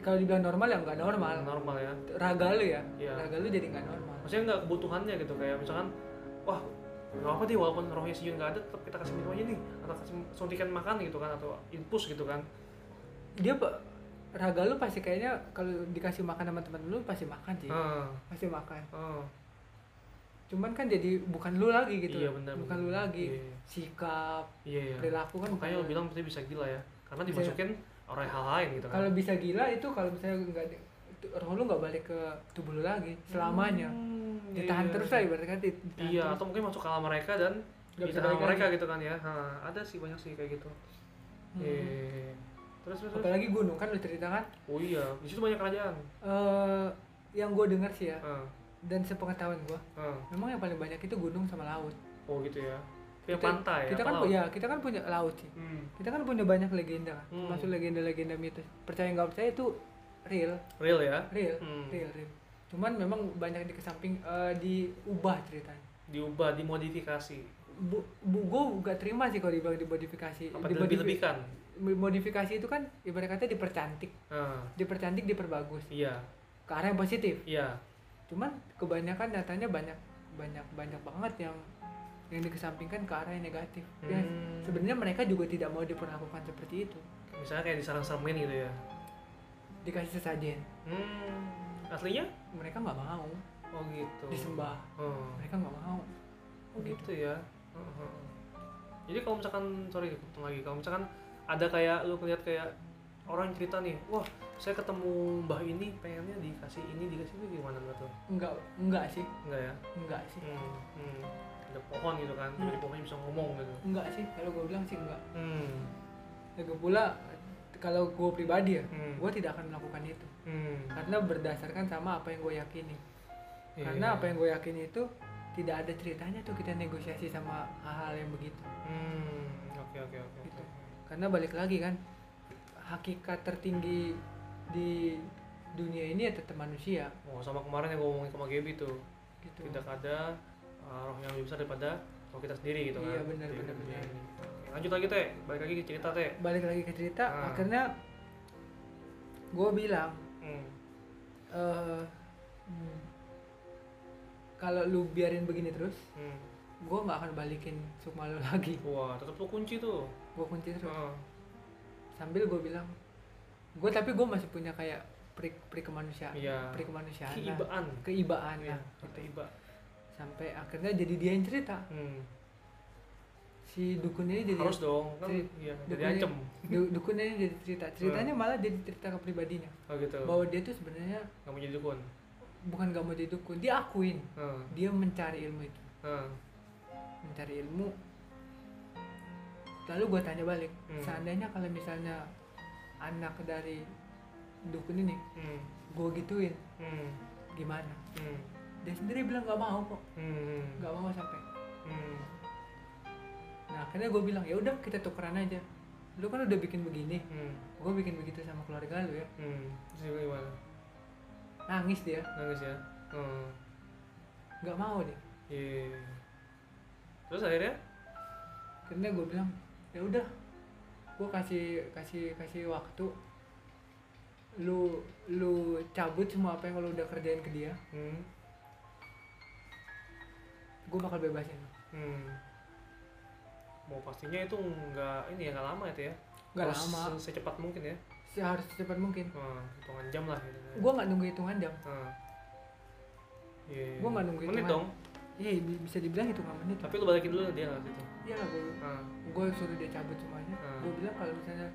kalau dibilang normal ya nggak normal
Normal ya.
raga lu ya
Iya.
raga lu jadi nggak normal
maksudnya nggak kebutuhannya gitu kayak misalkan wah nggak apa deh walaupun rohnya si Jun nggak ada tetap kita kasih minum aja nih atau kasih suntikan makan gitu kan atau infus gitu kan
dia pa- raga lu pasti kayaknya kalau dikasih makan sama teman lu pasti makan sih
ah
pasti makan
ah
cuman kan jadi bukan lu lagi gitu
Iya, benar,
bukan
benar.
lu lagi
Iya, iya.
sikap
iya iya
perilaku kan
makanya lo
bukan lu.
bilang pasti bisa gila ya karena
Bisa.
dimasukin orang hal lain gitu kan
kalau bisa gila itu kalau misalnya nggak di- tu- roh lu nggak balik ke tubuh lu lagi selamanya
Hmm,
ditahan
iya.
terus lah ibaratnya kan, ditahan
iya
terus.
atau mungkin masuk ke alam mereka dan
Nggak
bisa
bisa
sama
balik
mereka
lagi.
gitu kan ya Ha, ada sih banyak sih kayak gitu
Hmm.
Eh, terus terus, terus.
apalagi gunung kan lu cerita kan
oh iya di situ banyak kerajaan
Eh, yang gue dengar sih ya
Ha,
dan sepengetahuan gue
ha.
memang yang paling banyak itu gunung sama laut
oh gitu ya kayak pantai ya,
kita
apa
kan
laut?
punya kita kan punya laut sih
hmm.
kita kan punya banyak legenda kan
Hmm.
termasuk legenda-legenda mitos percaya nggak percaya itu real
real ya
real
Hmm.
real real cuman memang banyak di kesamping eh, diubah ceritanya
diubah dimodifikasi
bu, bu gue gak terima sih kalau dibilang dimodifikasi
apa kan? dilebih
Dimodifi-
lebihkan
modifikasi itu kan ibarat kata dipercantik dipercantik diperbagus
Ah, iya
ke arah yang positif
iya
cuman kebanyakan datanya banyak banyak banyak banget yang yang dikesampingkan ke arah yang negatif ya
Hmm.
sebenarnya mereka juga tidak mau diperlakukan seperti itu
misalnya kayak disarang-sarangin gitu ya
dikasih sesajen
hmm. aslinya
mereka nggak mau
oh gitu
disembah
Hmm.
mereka nggak mau
Oh gitu ya. Heeh. Jadi kalau misalkan sorry potong lagi, kalau misalkan ada kayak lu ngeliat kayak orang cerita nih, wah saya ketemu mbah ini pengennya dikasih ini dikasih itu gimana menurut lu?
nggak nggak sih
Enggak ya?
nggak sih
Hmm, hmm. Ada pohon gitu kan, jadi
Hmm.
pohonnya bisa ngomong gitu.
nggak sih kalau gue bilang sih nggak
Hmm,
lagi pula kalau gue pribadi ya
Hmm.
gue tidak akan melakukan itu
hmm.
karena berdasarkan sama apa yang gue yakini
Iya,
karena
iya.
apa yang gue yakini itu tidak ada ceritanya tuh kita negosiasi sama hal-hal yang begitu
Hmm, oke oke oke.
Gitu.
oke.
karena balik lagi kan hakikat tertinggi di dunia ini ya tetap manusia
Oh sama kemarin yang gue ngomongin sama Gaby tuh,
gitu
tidak ada uh, roh yang lebih besar daripada roh kita sendiri gitu kan.
Iya, benar,
Jadi,
benar, benar.
Oke, Lanjut lagi teh, balik lagi ke cerita teh.
balik lagi ke cerita
Ah.
akhirnya gue bilang
Hmm.
eh, hmm, kalau lu biarin begini terus
Hmm.
gue nggak akan balikin sukma lu lagi
Wah, tetap lu kunci tuh.
gue kunci terus
Heeh.
sambil gue bilang gue tapi gue masih punya kayak pri pri kemanusiaan
Iya.
pri kemanusiaan lah.
Keibaan.
keibaan
Iya,
lah gitu.
keiba.
sampai akhirnya jadi dia yang cerita
Hmm.
si dukun ini jadi
Harus dong, kan
Jadi-
iya, jadi Iya.
dukunnya-
ancem.
du- dukun ini jadi cerita ceritanya malah jadi cerita kepribadiannya
Oh gitu.
bahwa dia tuh sebenarnya
Nggak mau jadi dukun.
bukan gak mau jadi dukun dia akuin
Heeh.
dia mencari ilmu itu
Heeh.
mencari ilmu lalu gue tanya balik
Hmm.
seandainya kalau misalnya anak dari dukun ini
Hmm.
gue gituin
Hmm.
gimana
Hmm.
dia sendiri bilang gak mau kok
Hmm.
gak mau sampai
Hmm.
nah akhirnya gue bilang ya udah kita tukeran aja lu kan udah bikin begini
Hmm.
gue bikin begitu sama keluarga lu ya
Hmm. Terus dia gimana?
nangis dia
Nangis ya. Heeh.
nggak mau deh
Iya. Terus akhirnya?
karena gue bilang ya udah gue kasih kasih kasih waktu lu lu cabut semua apa yang lu udah kerjain ke dia
Hmm.
gue bakal bebasin lu."
Hmm. Mau pastinya itu nggak ini ya nggak lama itu ya?
nggak
Harus
lama
se- Secepat mungkin ya?
seharus secepat mungkin
Heeh, hitungan jam lah gitu.
gue nggak nunggu hitungan jam
Nah. Iya.
Gua nggak nungguin
Menit
teman.
dong.
iya bi- bisa dibilang hitungan menit
Tapi lu balikin dulu dia nggak gitu.
iya lah gue
Nah.
gue suruh dia cabut semuanya
Hmm.
gue bilang kalau misalnya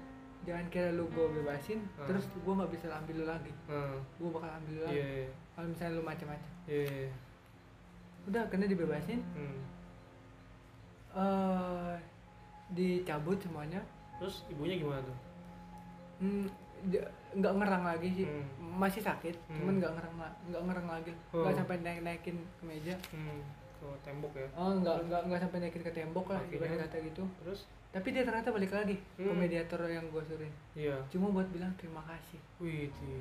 jangan kira lu gue bebasin
Hmm.
terus gue nggak bisa ambil lu lagi
Nah.
gue bakal ambil lu lagi
Iya. iya,
kalau misalnya lu macam-macam
Iya.
udah kena dibebasin
Hmm.
eh dicabut semuanya
Terus ibunya gimana tuh?
Hmm, dia- nggak ngerang lagi sih
Hmm.
masih sakit
Hmm.
cuman nggak ngerang la- nggak ngerang lagi
Oh.
nggak sampai naik naikin ke meja
Hmm. Ke tembok ya.
oh nggak nggak nggak sampai naikin ke tembok lah
Akhirnya?
ibarat kata gitu
Terus?
tapi dia ternyata balik lagi ke
Hmm.
mediator yang gue suruhin
Iya.
cuma buat bilang terima kasih
Wih. di.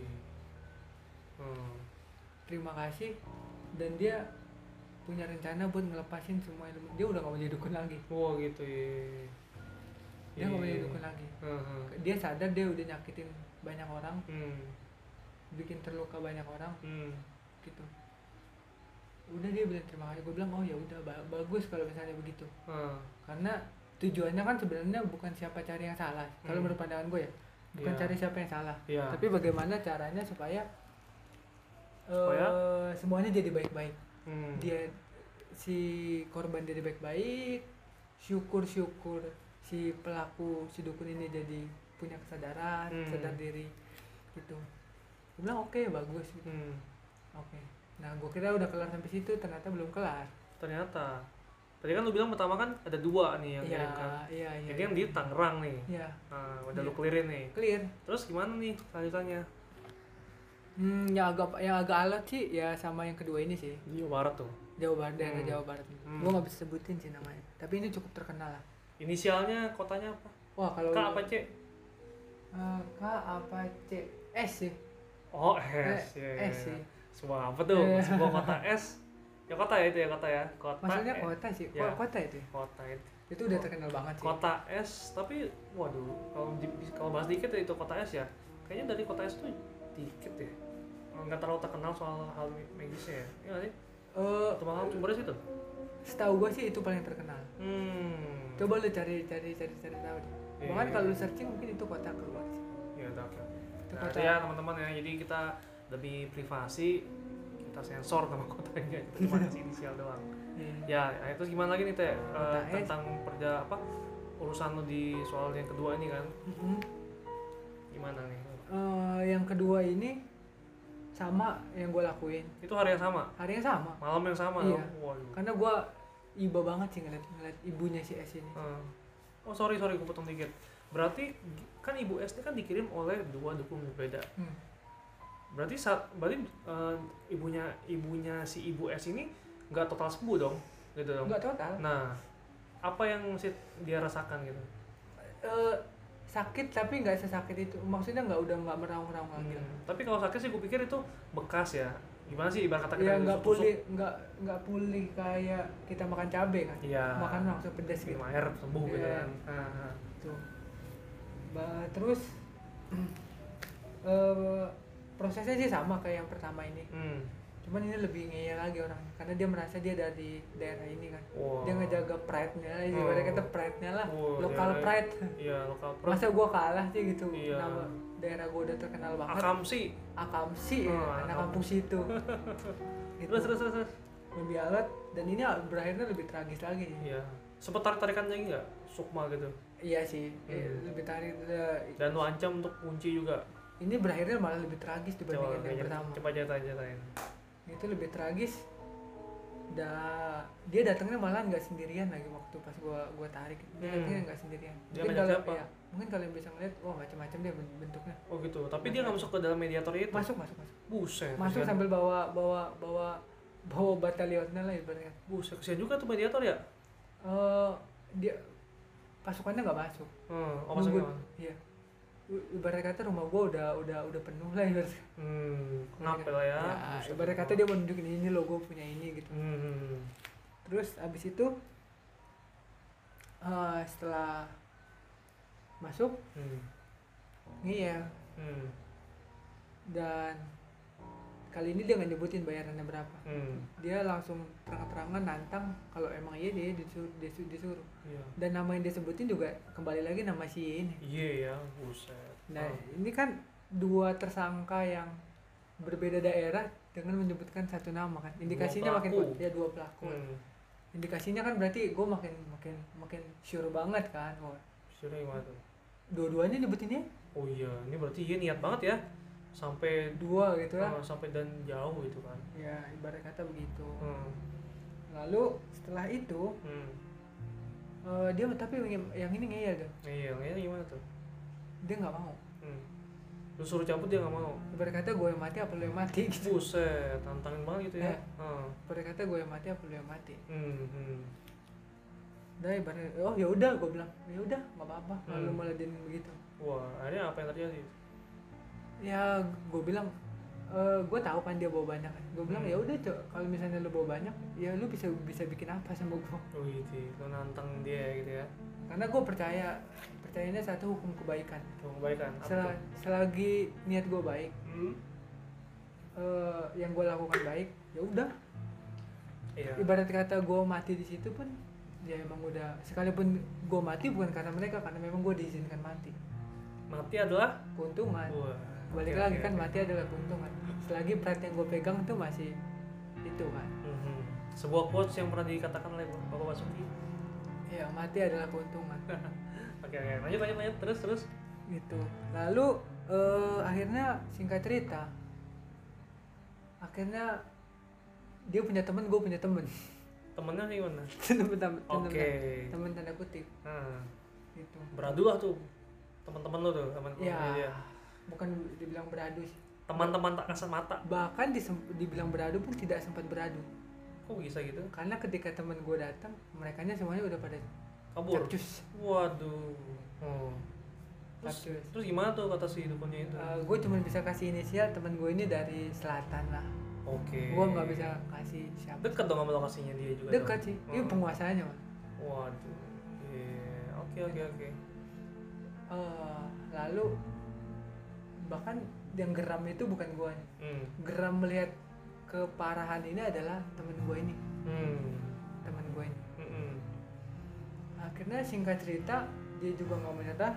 Hmm.
terima kasih dan dia punya rencana buat ngelepasin semua ilmu dia udah nggak mau jadi dukun lagi
Wah gitu ya.
dia nggak mau jadi dukun lagi
Iya, Heeh.
dia sadar dia udah nyakitin banyak orang
Hmm.
bikin terluka banyak orang
Hmm.
gitu udah dia bilang terima kasih gue bilang oh ya udah ba- bagus kalau misalnya begitu
Ah.
karena tujuannya kan sebenarnya bukan siapa cari yang salah kalau
Hmm.
menurut pandangan gue ya bukan
Iya.
cari siapa yang salah
Iya.
tapi bagaimana caranya supaya eh,
Supaya?
semuanya jadi baik-baik
Hmm.
dia si korban jadi baik-baik syukur-syukur si pelaku si dukun ini jadi punya kesadaran
Hmm.
sadar diri gitu gue bilang oke bagus gitu.
Hmm.
Oke. Nah, gue kira udah kelar sampai situ, ternyata belum kelar.
Ternyata. Tadi kan lu bilang pertama kan ada dua nih yang
iya
kirim kan.
iya iya
Jadi yang di Tangerang nih.
iya
Nah, udah lu
Iya.
clearin nih.
clear
Terus gimana nih lanjutannya?
hmm, yang agak yang agak alot sih ya sama yang kedua ini sih
Di Barat tuh.
Jawa Barat daerah
Hmm.
Jawa Barat
Hmm.
gua nggak bisa sebutin sih namanya tapi ini cukup terkenal lah
Inisialnya kotanya apa?
wah kalau
K apa C?
Eh, K apa C S sih
Oh S.
Eh,
ya, ya, ya.
S sih
Semua apa tuh?
Iya.
Semua kota S. Ya kota ya itu ya kota ya. Kota.
maksudnya
eh,
kota sih
ya.
Ko- kota itu ya?
Kota itu.
itu udah terkenal banget sih
Kota S tapi waduh kalau di- kalau bahas dikit ya itu kota S ya. Kayaknya dari kota S tuh dikit ya. Nggak terlalu terkenal soal hal magisnya ya. Iya nggak sih?
Eh,
Atau malah sumbernya situ.
setahu gua sih itu paling terkenal
Hmm.
coba lu cari cari cari cari tahu deh
Iya,
bahkan
iya.
kalau lu searching mungkin itu kota keluar sih
Ya udah oke.
itu
Nah,
kota
itu ya teman-teman ya. Jadi kita demi privasi kita sensor nama kotanya. Kita cuma kasih inisial doang.
Hmm.
Ya, nah, terus gimana lagi nih Teh Eh,
Kota S.
tentang perja apa urusan lo di soal yang kedua ini kan?
Mhm.
Gimana nih?
Eh, yang kedua ini sama yang gue lakuin
Itu hari yang sama,
hari yang sama
malam yang sama.
Iya.
dong? Waduh.
karena gue iba banget sih ngeliat ngeliat ibunya si S ini
Eh, oh sorry sorry, gue potong dikit. Berarti kan ibu SD kan dikirim oleh dua dukun berbeda.
Hmm.
Berarti saat berarti eh, ibunya ibunya si ibu S ini nggak total sembuh dong, gitu dong.
nggak total
Nah, apa yang si dia rasakan gitu?
Eh, sakit tapi nggak sesakit itu maksudnya nggak udah nggak meraung-raung lagi Ya lah.
Hmm, Tapi kalau sakit sih gue pikir itu bekas ya. Gimana sih ibarat kata kita
ya nggak
ditusuk-tusuk?
pulih nggak nggak pulih kayak kita makan cabe kan
Iya.
makan langsung pedas gitu
minum air sembuh gitu
Iya.
kan. Ah, ah.
Tuh. Ba- terus eh, prosesnya sih sama kayak yang pertama ini
Hmm.
cuman ini lebih ngeyel lagi orang karena dia merasa dia dari daerah ini kan
Wow.
dia ngejaga pride nya
Oh.
ibaratnya kata pride nya lah
Wow,
lokal
daerah-
pride
Iya, lokal pride.
masa gua kalah sih gitu
Iya.
nama daerah gua udah terkenal banget
Akamsi.
akamsi
Oh,
ya, anak
Akam-
kampung situ gitu.
Terus terus terus. terus.
lebih alat dan ini berakhirnya lebih tragis lagi sih.
Iya. Sempet tarik-tarikan lagi nggak? Sukma gitu.
iya sih eh,
Hmm.
lebih tarik eh,
Dan lu ancam untuk kunci juga.
ini berakhirnya malah lebih tragis dibandingkan yang
kayak-
pertama
Coba ceritain ceritain.
itu lebih tragis da dia datangnya malah nggak sendirian lagi waktu pas gua gua tarik dia
Hmm.
datangnya nggak sendirian
Dia
mungkin
ngajak
kalau
siapa?
ya, mungkin kalian bisa ngeliat wah macam-macam dia ben- bentuknya
Oh gitu. Tapi dia nggak masuk ke dalam mediator itu.
masuk masuk masuk
Ya, Buset.
masuk
kesian.
sambil bawa bawa bawa bawa batalionnya lah ibaratnya
Buset, kesian juga tuh mediator ya?
Eh, dia pasukannya nggak masuk
Hmm, oh
Nunggu-
maksudnya.
iya I- ibarat kata rumah gua udah udah udah penuh lah ibarat
Hmm, kenapa lah ya?
ya,
Buset.
ibarat kata dia mau nunjukin ini logo punya ini gitu
Hmm.
terus abis itu eh, setelah masuk
Hmm.
ngeyel
Hmm.
dan kali ini dia nggak nyebutin bayarannya berapa
Hmm.
dia langsung terang-terangan nantang kalau emang iya dia disuruh, disuruh, disuruh
Iya.
dan nama yang disebutin juga kembali lagi nama si Y ini
Iya ya, buset.
nah
Oh.
ini kan dua tersangka yang berbeda daerah dengan menyebutkan satu nama kan indikasinya makin
pelaku.
kuat ya dua pelaku
Hmm.
indikasinya kan berarti gue makin makin makin sure banget kan wah
Sudah gimana tuh?
dua-duanya nyebutinnya
Oh iya, ini berarti dia niat banget ya sampai
dua gitu lah
eh, sampai dan jauh gitu kan.
ya ibarat kata begitu
Hmm.
lalu setelah itu
Hmm.
eh, dia tapi yang, yang ini ngeyel tuh
Nah, Iya, ini gimana tuh?
dia nggak mau
Hmm. Lu suruh cabut dia nggak mau.
ibarat kata gue yang mati apa lu yang mati gitu
Buset, tantangin banget gitu ya.
Eh.
Hmm.
ibarat kata gue yang mati apa lu yang mati
Hmm. hmm.
udah ibarat oh ya udah gue bilang ya udah nggak apa-apa lalu
Hmm.
malah dia begitu
Wah, akhirnya apa yang terjadi?
ya gue bilang eh gue tahu kan dia bawa banyak gue bilang
Hmm.
ya udah Cok, kalau misalnya lu bawa banyak ya lu bisa bisa bikin apa sama gue
Oh gitu, lu nantang dia gitu ya.
karena gue percaya percayanya satu hukum kebaikan
Tuh kebaikan. Apa
Sel-
tuh?
selagi niat gue baik
Hmm.
eh, yang gue lakukan baik ya udah
Iya.
ibarat kata gue mati di situ pun ya emang udah sekalipun gue mati bukan karena mereka karena memang gue diizinkan mati
Mati adalah
keuntungan
Wah,
Ah, balik
oke,
lagi
oke,
kan
oke.
mati adalah keuntungan selagi pride yang gue pegang tuh masih itu kan
Mhm. Sebuah quotes yang pernah dikatakan oleh Bapak Basuki.
ya mati adalah keuntungan
Nah. Oke, oke. Lanjut, lanjut, lanjut. Terus, terus.
gitu lalu eh, akhirnya singkat cerita akhirnya dia punya temen gue punya temen
temennya gimana?
temen temen temen-
Oke.
temen tanda kutip
Nah,
gitu
beradu lah tuh teman-teman lo tuh teman
ya
iya.
bukan dibilang beradu sih
teman-teman tak kasat mata
bahkan disem- dibilang beradu pun tidak sempat beradu
kok bisa gitu
karena ketika teman gue datang mereka semuanya udah pada
kabur
capcus
waduh hmm.
Oh.
terus,
Capcus.
terus gimana tuh kata si dukunnya itu
gue cuma Eh, bisa kasih inisial teman gue ini dari selatan lah
oke
gue nggak bisa kasih siapa
dekat dong sama lokasinya dia juga
dekat
dong.
sih
Hmm.
ini penguasanya mas
waduh Iya. oke oke oke
Eh, lalu bahkan yang geram itu bukan gue
hmm.
geram melihat keparahan ini adalah teman gue ini
Hmm.
teman gue ini
Mm-mm.
akhirnya singkat cerita dia juga nggak menyerah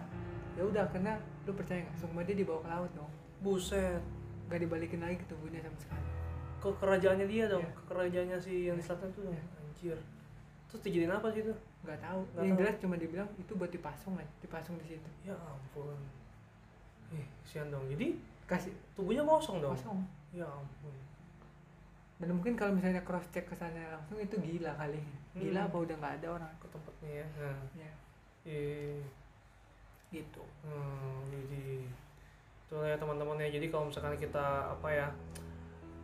ya udah karena lu percaya nggak semua dia dibawa ke laut dong
buset
nggak dibalikin lagi ke tubuhnya sama sekali
ke kerajaannya dia dong
Iya.
ke kerajaannya si yang di selatan tuh dong.
Iya.
anjir terus dijadiin apa gitu? sih itu
nggak tahu
Nggak
yang
tahu.
jelas cuma dibilang itu buat dipasung kan dipasung di situ
ya ampun ih kesian dong jadi
kasih
tubuhnya kosong dong
kosong
ya ampun
dan mungkin kalau misalnya cross check ke sana langsung itu gila kali gila
Hmm.
apa udah nggak ada orang
ke tempatnya ya nah.
ya
eh
gitu
Hmm, jadi itu lah ya teman-teman ya. Jadi kalau misalkan kita apa ya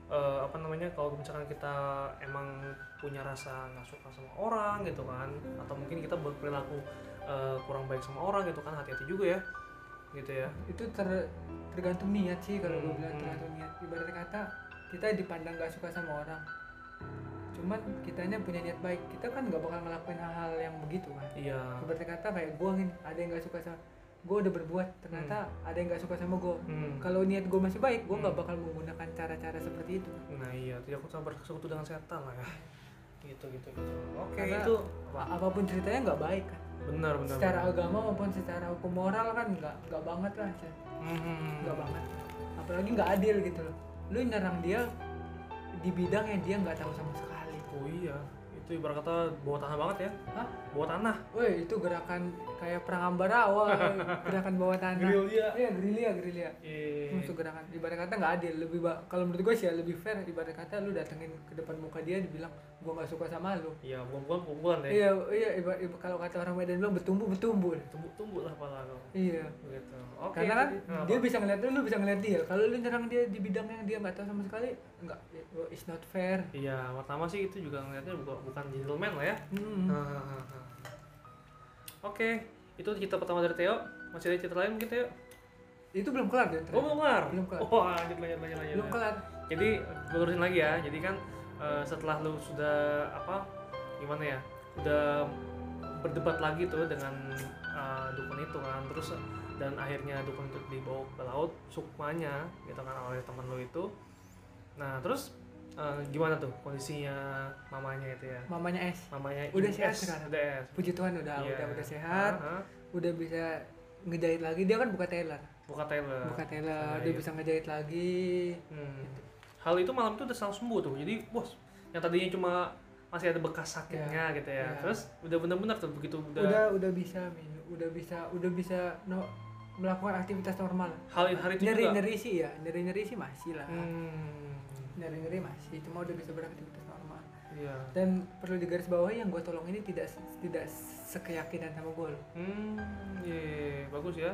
eh, apa namanya kalau misalkan kita emang punya rasa nggak suka sama orang gitu kan atau mungkin kita berperilaku eh, kurang baik sama orang gitu kan hati-hati juga ya gitu ya
itu ter- tergantung niat sih kalau gue
Hmm,
bilang
hmm.
tergantung niat ibarat kata kita dipandang gak suka sama orang cuman kitanya punya niat baik kita kan gak bakal ngelakuin hal-hal yang begitu kan
iya
ibarat kata kayak gue nih ada yang gak suka sama gue udah berbuat ternyata ada yang gak suka sama gue
Hmm.
kalau niat gue masih baik gue nggak
Hmm.
bakal menggunakan cara-cara seperti itu
nah iya tidak usah bersekutu dengan setan lah ya gitu gitu gitu oke
Karena-
itu
A- apapun ceritanya nggak baik kan
benar benar
secara
benar.
agama maupun secara hukum moral kan nggak nggak banget lah Chan.
Hmm.
nggak banget apalagi nggak adil gitu loh lu nyerang dia di bidang yang dia nggak tahu sama sekali
oh iya itu ibarat kata bawa tanah banget ya
Hah?
bawa tanah
woi itu gerakan kayak perang ambarawa woy. gerakan bawah tanah
dia
iya gerilya gerilya
Iya.
Itu gerakan ibarat kata nggak adil lebih ba- kalau menurut gue sih ya lebih fair ibarat kata lu datengin ke depan muka dia dibilang gua nggak suka sama lu
Iya, perempuan perempuan deh.
iya iya iba- iba- kalau kata orang Medan bilang bertumbuh bertumbuh
Tumbuh tumbuh lah pala lo.
iya
Begitu. Oke.
karena kan
jadi- nah,
dia
apa?
bisa ngeliat lu, lu bisa ngeliat dia. Kalau lu nyerang dia di bidang yang dia nggak tahu sama sekali, nggak, ya, oh, it's not fair.
Iya, pertama sih itu juga ngeliatnya bukan bukan gentleman lah ya.
Hmm.
Nah, nah, nah, nah. Oke, itu cerita pertama dari Theo. Masih ada cerita lain mungkin Theo?
Itu belum kelar deh.
Oh, belum kelar.
Belum kelar.
Oh, lanjut lanjut lanjut lanjut.
Belum kelar.
Jadi gue lurusin lagi ya. Jadi kan eh, setelah lu sudah apa gimana ya? Udah berdebat lagi tuh dengan eh, dukun itu kan. Terus eh, dan akhirnya dukun itu dibawa ke laut sukmanya gitu kan oleh teman lu itu. Nah, terus eh, gimana tuh kondisinya mamanya itu ya?
Mamanya S.
Mamanya
Udah
IS,
sehat sekarang?
Udah es.
Puji Tuhan udah
Iya.
udah udah sehat,
Ah, ah.
udah bisa ngejahit lagi. Dia kan buka tailor.
Buka Taylor.
Buka tailor,
Nah,
dia
iya.
bisa ngejahit lagi.
Hmm. Hal itu malam itu udah langsung sembuh tuh. Jadi, bos, yang tadinya cuma masih ada bekas sakitnya gitu ya.
Iya.
Terus udah bener-bener tuh begitu udah,
Udah udah bisa minum, udah bisa udah bisa no, melakukan aktivitas normal.
hal hari itu
Nyeri
juga.
nyeri sih ya, nyeri nyeri sih masih lah.
Hmm.
Nyeri nyeri masih, cuma udah bisa beraktivitas normal.
Iya.
dan perlu digarisbawahi yang gue tolong ini tidak tidak sekeyakinan sama gue loh
Hmm, iya, bagus ya.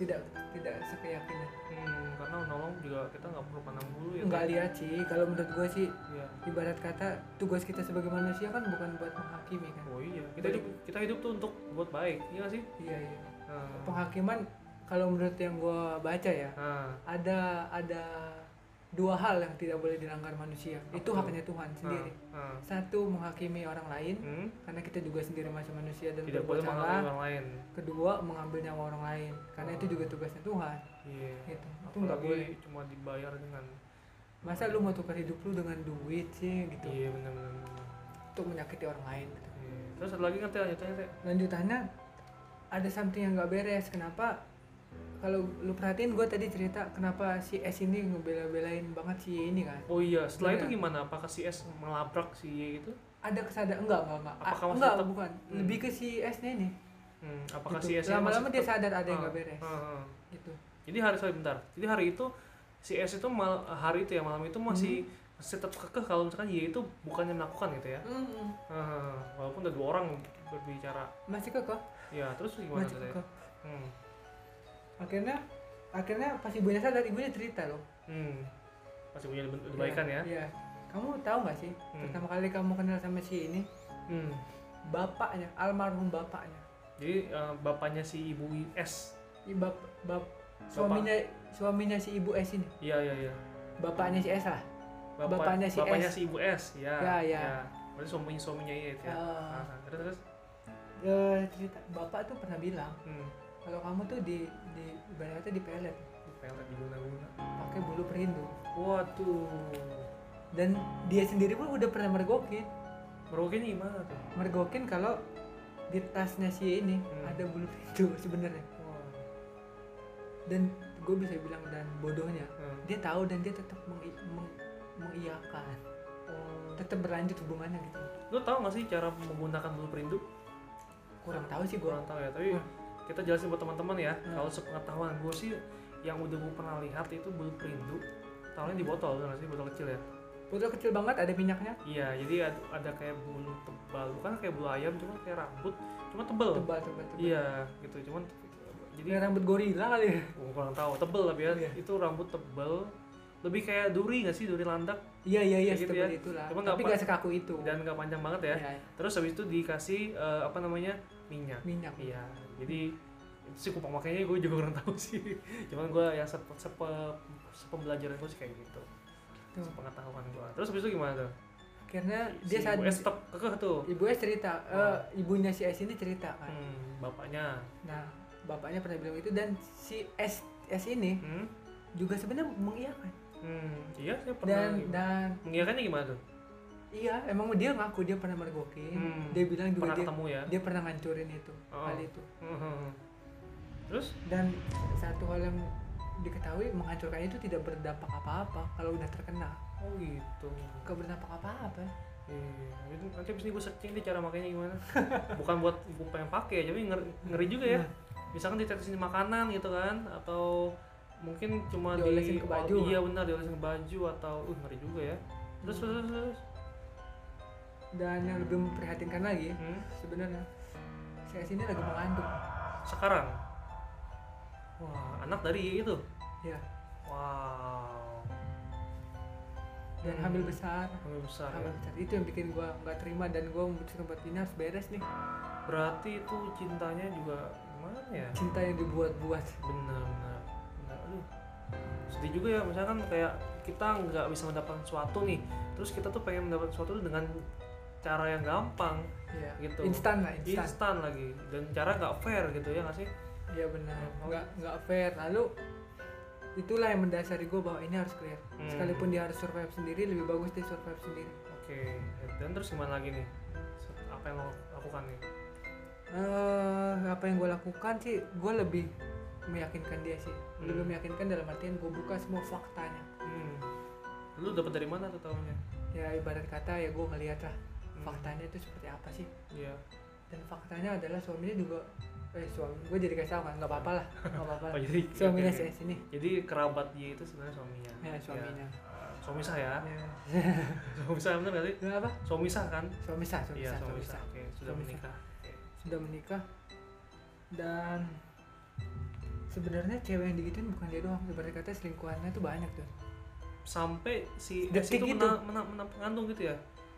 tidak tidak sekeyakinan
Hmm, karena nolong juga kita nggak perlu pandang dulu ya.
nggak lihat sih kalau menurut gue sih
Iya.
ibarat kata tugas kita sebagai manusia kan bukan buat menghakimi kan
Oh iya, kita hidup, kita hidup tuh untuk buat baik, iya nggak sih?
iya iya
Nah,
penghakiman kalau menurut yang gue baca ya
nah,
ada ada dua hal yang tidak boleh dilanggar manusia
Apa
itu
tuh?
haknya Tuhan sendiri
nah.
satu menghakimi orang lain
Hmm,
karena kita juga sendiri masih manusia dan
tidak boleh
berbuat
mengalami
salah
orang lain. Ah.
kedua mengambil nyawa orang lain karena itu juga tugasnya Tuhan
Iya.
gitu itu nggak boleh
Apalagi cuma dibayar dengan
masa lu mau tukar hidup lu dengan duit sih gitu
iya benar-benar. benar.
untuk menyakiti orang lain gitu.
Iya. Terus ada lagi kan Teh, lanjutannya Teh?
lanjutannya ada something yang nggak beres kenapa kalau lu perhatiin gue tadi cerita kenapa si S ini ngebela-belain banget si Y ini kan
Oh iya, setelah
Iya.
itu gimana? Apakah si S melabrak si Y itu?
ada kesadaran enggak enggak enggak
Apakah
Ah,
masih
enggak
tetap-
bukan
Hmm.
lebih ke si S nya ini
Hmm, apakah
gitu.
si S -nya
lama-lama
masih
dia
tetap-
sadar ada yang
Ah,
nggak beres
ah, ah.
gitu
Jadi hari sorry bentar. Jadi hari itu si S itu mal, hari itu ya malam itu masih
Hmm.
masih tetap kekeh kalau misalkan ya itu bukannya melakukan gitu ya
Mm-mm.
Ah, walaupun udah dua orang berbicara
masih kekeh
ya terus gimana tuh
masih
Teh?
kekeh
hmm.
akhirnya akhirnya pas ibunya sadar ibunya cerita loh
hmm. masih punya lebih lebih baikan ya
Iya. kamu tahu nggak sih
Hmm.
pertama kali kamu kenal sama si ini
hmm.
bapaknya almarhum bapaknya
jadi eh, bapaknya si ibu S
I- bap, bap, suaminya suaminya si ibu S ini
iya iya iya
bapaknya si S lah Bapaknya si
bapaknya
S.
si ibu S ya
Ya, ya.
berarti suaminya suaminya iya itu ya
Ah.
Ah, terus terus
Eh, cerita bapak tuh pernah bilang
hmm.
kalau kamu tuh di di ibaratnya di pelet
pelet diguna guna
pakai bulu perindu
waduh
dan dia sendiri pun udah pernah mergokin
meruginya gimana tuh
mergokin kalau di tasnya si ini
Hmm.
ada bulu perindu sebenarnya
wah
dan gue bisa bilang dan bodohnya
hmm.
dia tahu dan dia tetap mengi- meng- mengiyakan tetap berlanjut hubungannya gitu
lu tau gak sih cara menggunakan bulu perindu
kurang tahu sih
gue
gue
kurang tahu ya tapi
Hmm.
kita jelasin buat teman-teman ya
Hmm.
kalau sepengetahuan gue sih yang udah gue pernah lihat itu bulu perindu taruhnya di botol kan sih botol kecil ya
botol kecil banget ada minyaknya
iya jadi ad- ada, kayak bulu tebal bukan kayak bulu ayam cuma kayak rambut cuma tebel
tebal tebal tebal
iya gitu cuman jadi
Ini rambut gorila kali ya
gue kurang tahu tebel tapi ya
Iya.
itu rambut tebel lebih kayak duri gak sih duri landak
iya iya iya
Kayak gitu
setebal
ya.
itulah
Cuma nggak
tapi
apa-
gak sekaku itu
dan gak panjang banget ya
Iya,
terus habis itu dikasih eh, apa namanya minyak
minyak
Iya, jadi itu sih kupang makanya gue juga kurang tahu sih. Cuman gue yang sepe, sepe, sepembelajaran gue sih kayak gitu.
Tuh.
Sepengetahuan gue. Terus habis itu gimana tuh?
akhirnya dia
si
saat
US tetap kekeh tuh.
ibu S cerita eh, ibunya si S ini cerita kan
Hmm, bapaknya.
nah bapaknya pernah bilang itu dan si S S ini
Hmm,
juga sebenarnya mengiyakan
hmm, iya saya
dan
pernah.
dan
Mengiyakannya gimana tuh?
iya emang dia ngaku dia pernah mergokin
Hmm.
dia bilang juga
Pernah
dia
ketemu ya?
dia pernah ngancurin itu
Oh.
hal itu
Hmm, Terus?
dan satu hal yang diketahui menghancurkan itu tidak berdampak apa-apa kalau udah terkena
Oh gitu.
gak berdampak apa-apa
Iya, itu nanti abis ini gue searching deh cara makainya gimana. Bukan buat gue pengen pakai, tapi ngeri, ngeri juga ya.
Nah.
Misalkan ditetesin di makanan gitu kan, atau mungkin cuma di
Diolesin ke baju. kan?
iya benar diolesin ke baju atau uh ngeri juga ya. Terus
Hmm.
terus terus.
dan yang lebih memprihatinkan lagi
Hmm. Ah.
sebenarnya saya sini lagi mengandung
Sekarang, wah anak dari itu,
ya
wow.
dan
Hmm.
hamil besar
Hamil besar
hamil
ya.
besar itu yang bikin gua nggak terima dan gua memutuskan buat ini harus beres nih
Berarti itu cintanya juga gimana ya?
cinta yang dibuat-buat
benar benar benar aduh sedih juga ya misalkan kayak kita nggak bisa mendapatkan sesuatu nih terus kita tuh pengen mendapatkan sesuatu dengan cara yang gampang
ya
Gitu.
instan lah instan
instan lagi dan cara nggak fair gitu ya nggak sih
Iya benar,
Hmm.
nggak nggak fair. Lalu itulah yang mendasari gue bahwa ini harus clear.
Hmm.
Sekalipun dia harus survive sendiri, lebih bagus dia survive sendiri.
oke dan terus gimana lagi nih apa yang lo lakukan nih
eh apa yang gue lakukan sih, gue lebih meyakinkan dia sih. Lebih
Hmm.
meyakinkan dalam artian gue buka semua faktanya.
hmm. lu dapat dari mana tuh tahunya Hmm.
Ya ibarat kata ya gue ngeliat lah faktanya itu seperti apa sih.
iya
Dan faktanya adalah suaminya juga, eh suami gue jadi kasih tau kan, nggak apa-apa lah, nggak apa-apa.
oh, jadi
suaminya
oke, oke.
sih sini,
jadi kerabat dia itu sebenarnya suaminya
ya suaminya.
Ya. suami saya
Ya.
suami saya bener nggak sih
Nah, apa?
suami saya kan
Suami sah, suami
iya
sah,
suami
suami
saya
sah.
oke sudah
Suami saya.
menikah Oke.
sudah menikah dan sebenarnya cewek yang digituin bukan dia doang ibarat kata selingkuhannya tuh banyak tuh
sampai si S
Detik
itu
itu.
mena, mena, mena- mengandung gitu ya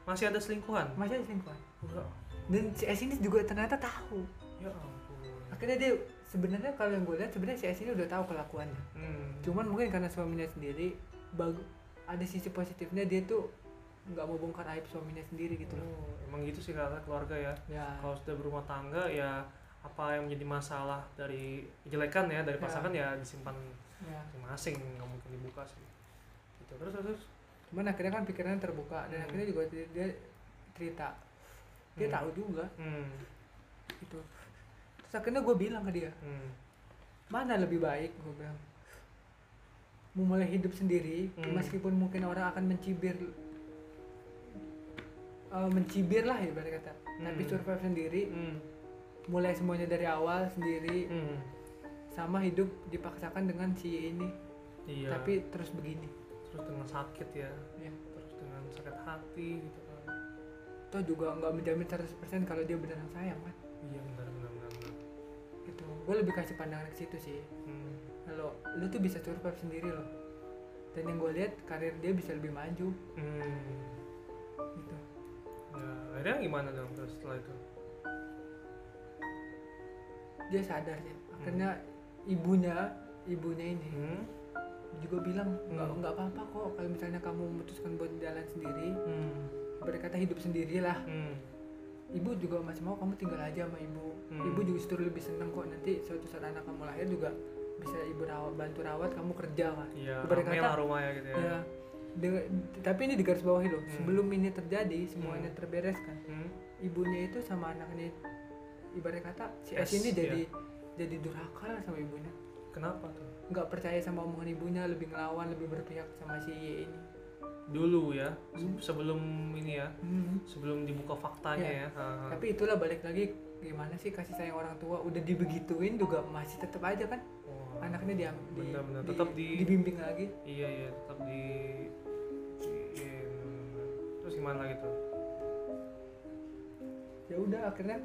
masih ada selingkuhan
masih ada selingkuhan
Wah,
dan si S ini juga ternyata tahu
ya ampun
akhirnya dia sebenarnya kalau yang gue lihat sebenarnya si S ini udah tahu kelakuannya
hmm.
cuman mungkin karena suaminya sendiri bagu- ada sisi positifnya dia tuh nggak mau bongkar aib suaminya sendiri gitu loh
Oh, emang gitu sih kata keluarga ya
ya
kalau sudah berumah tangga ya apa yang menjadi masalah dari kejelekan ya dari
Ya.
pasangan ya disimpan
ya.
masing-masing nggak mungkin dibuka sih gitu terus terus, terus.
cuman akhirnya kan pikirannya terbuka dan
Hmm.
akhirnya juga dia, dia cerita dia
Hmm.
tahu juga
Hmm,
gitu terus akhirnya gue bilang ke dia
hmm,
mana lebih baik gue bilang memulai hidup sendiri
Hmm.
meskipun mungkin orang akan mencibir eh, mencibir lah ya kata tapi
Hmm.
survive sendiri
hmm,
mulai semuanya dari awal sendiri
hmm.
sama hidup dipaksakan dengan si ini
iya
tapi terus begini
terus dengan sakit ya
ya.
terus hati gitu kan
Toh juga nggak menjamin 100% kalau dia beneran sayang kan.
iya benar benar benar benar.
Gitu. Gue lebih kasih pandangan ke situ sih.
hmm.
Kalau lu tuh bisa survive sendiri loh. Dan yang gue lihat karir dia bisa lebih maju
hmm.
gitu.
Nah, akhirnya gimana dong terus setelah itu
Dia sadar sih. Akhirnya ibunya, ibunya ini
hmm.
juga bilang nggak
Hmm.
nggak apa-apa kok kalau misalnya kamu memutuskan buat jalan sendiri
Hmm.
berkata hidup sendirilah
Hmm.
ibu juga masih mau kamu tinggal aja sama ibu
Hmm.
ibu juga justru lebih seneng kok nanti suatu saat anak kamu lahir juga bisa ibu rawat bantu rawat kamu kerja kan
iya
Ibarat
rame
kata-
lah rumahnya gitu ya,
ya de- tapi ini digaris bawahi loh
Hmm.
sebelum ini terjadi semuanya
Hmm.
terbereskan
Hmm.
ibunya itu sama anaknya itu, ibarat kata si S
Yes,
ini
iya.
jadi jadi durhaka lah sama ibunya
kenapa tuh
nggak percaya sama omongan ibunya lebih ngelawan lebih berpihak sama si Y ini
dulu ya se-
Hmm.
sebelum ini ya
Hmm. sebelum
sebelum dibuka faktanya
Iya.
ya, Ha, ha.
tapi itulah balik lagi gimana sih kasih sayang orang tua udah dibegituin juga masih tetap aja kan
Wah.
anaknya dia di,
Benar-benar,
di-
tetap di-
dibimbing lagi
iya iya tetap di di- terus gimana lagi tuh
ya udah akhirnya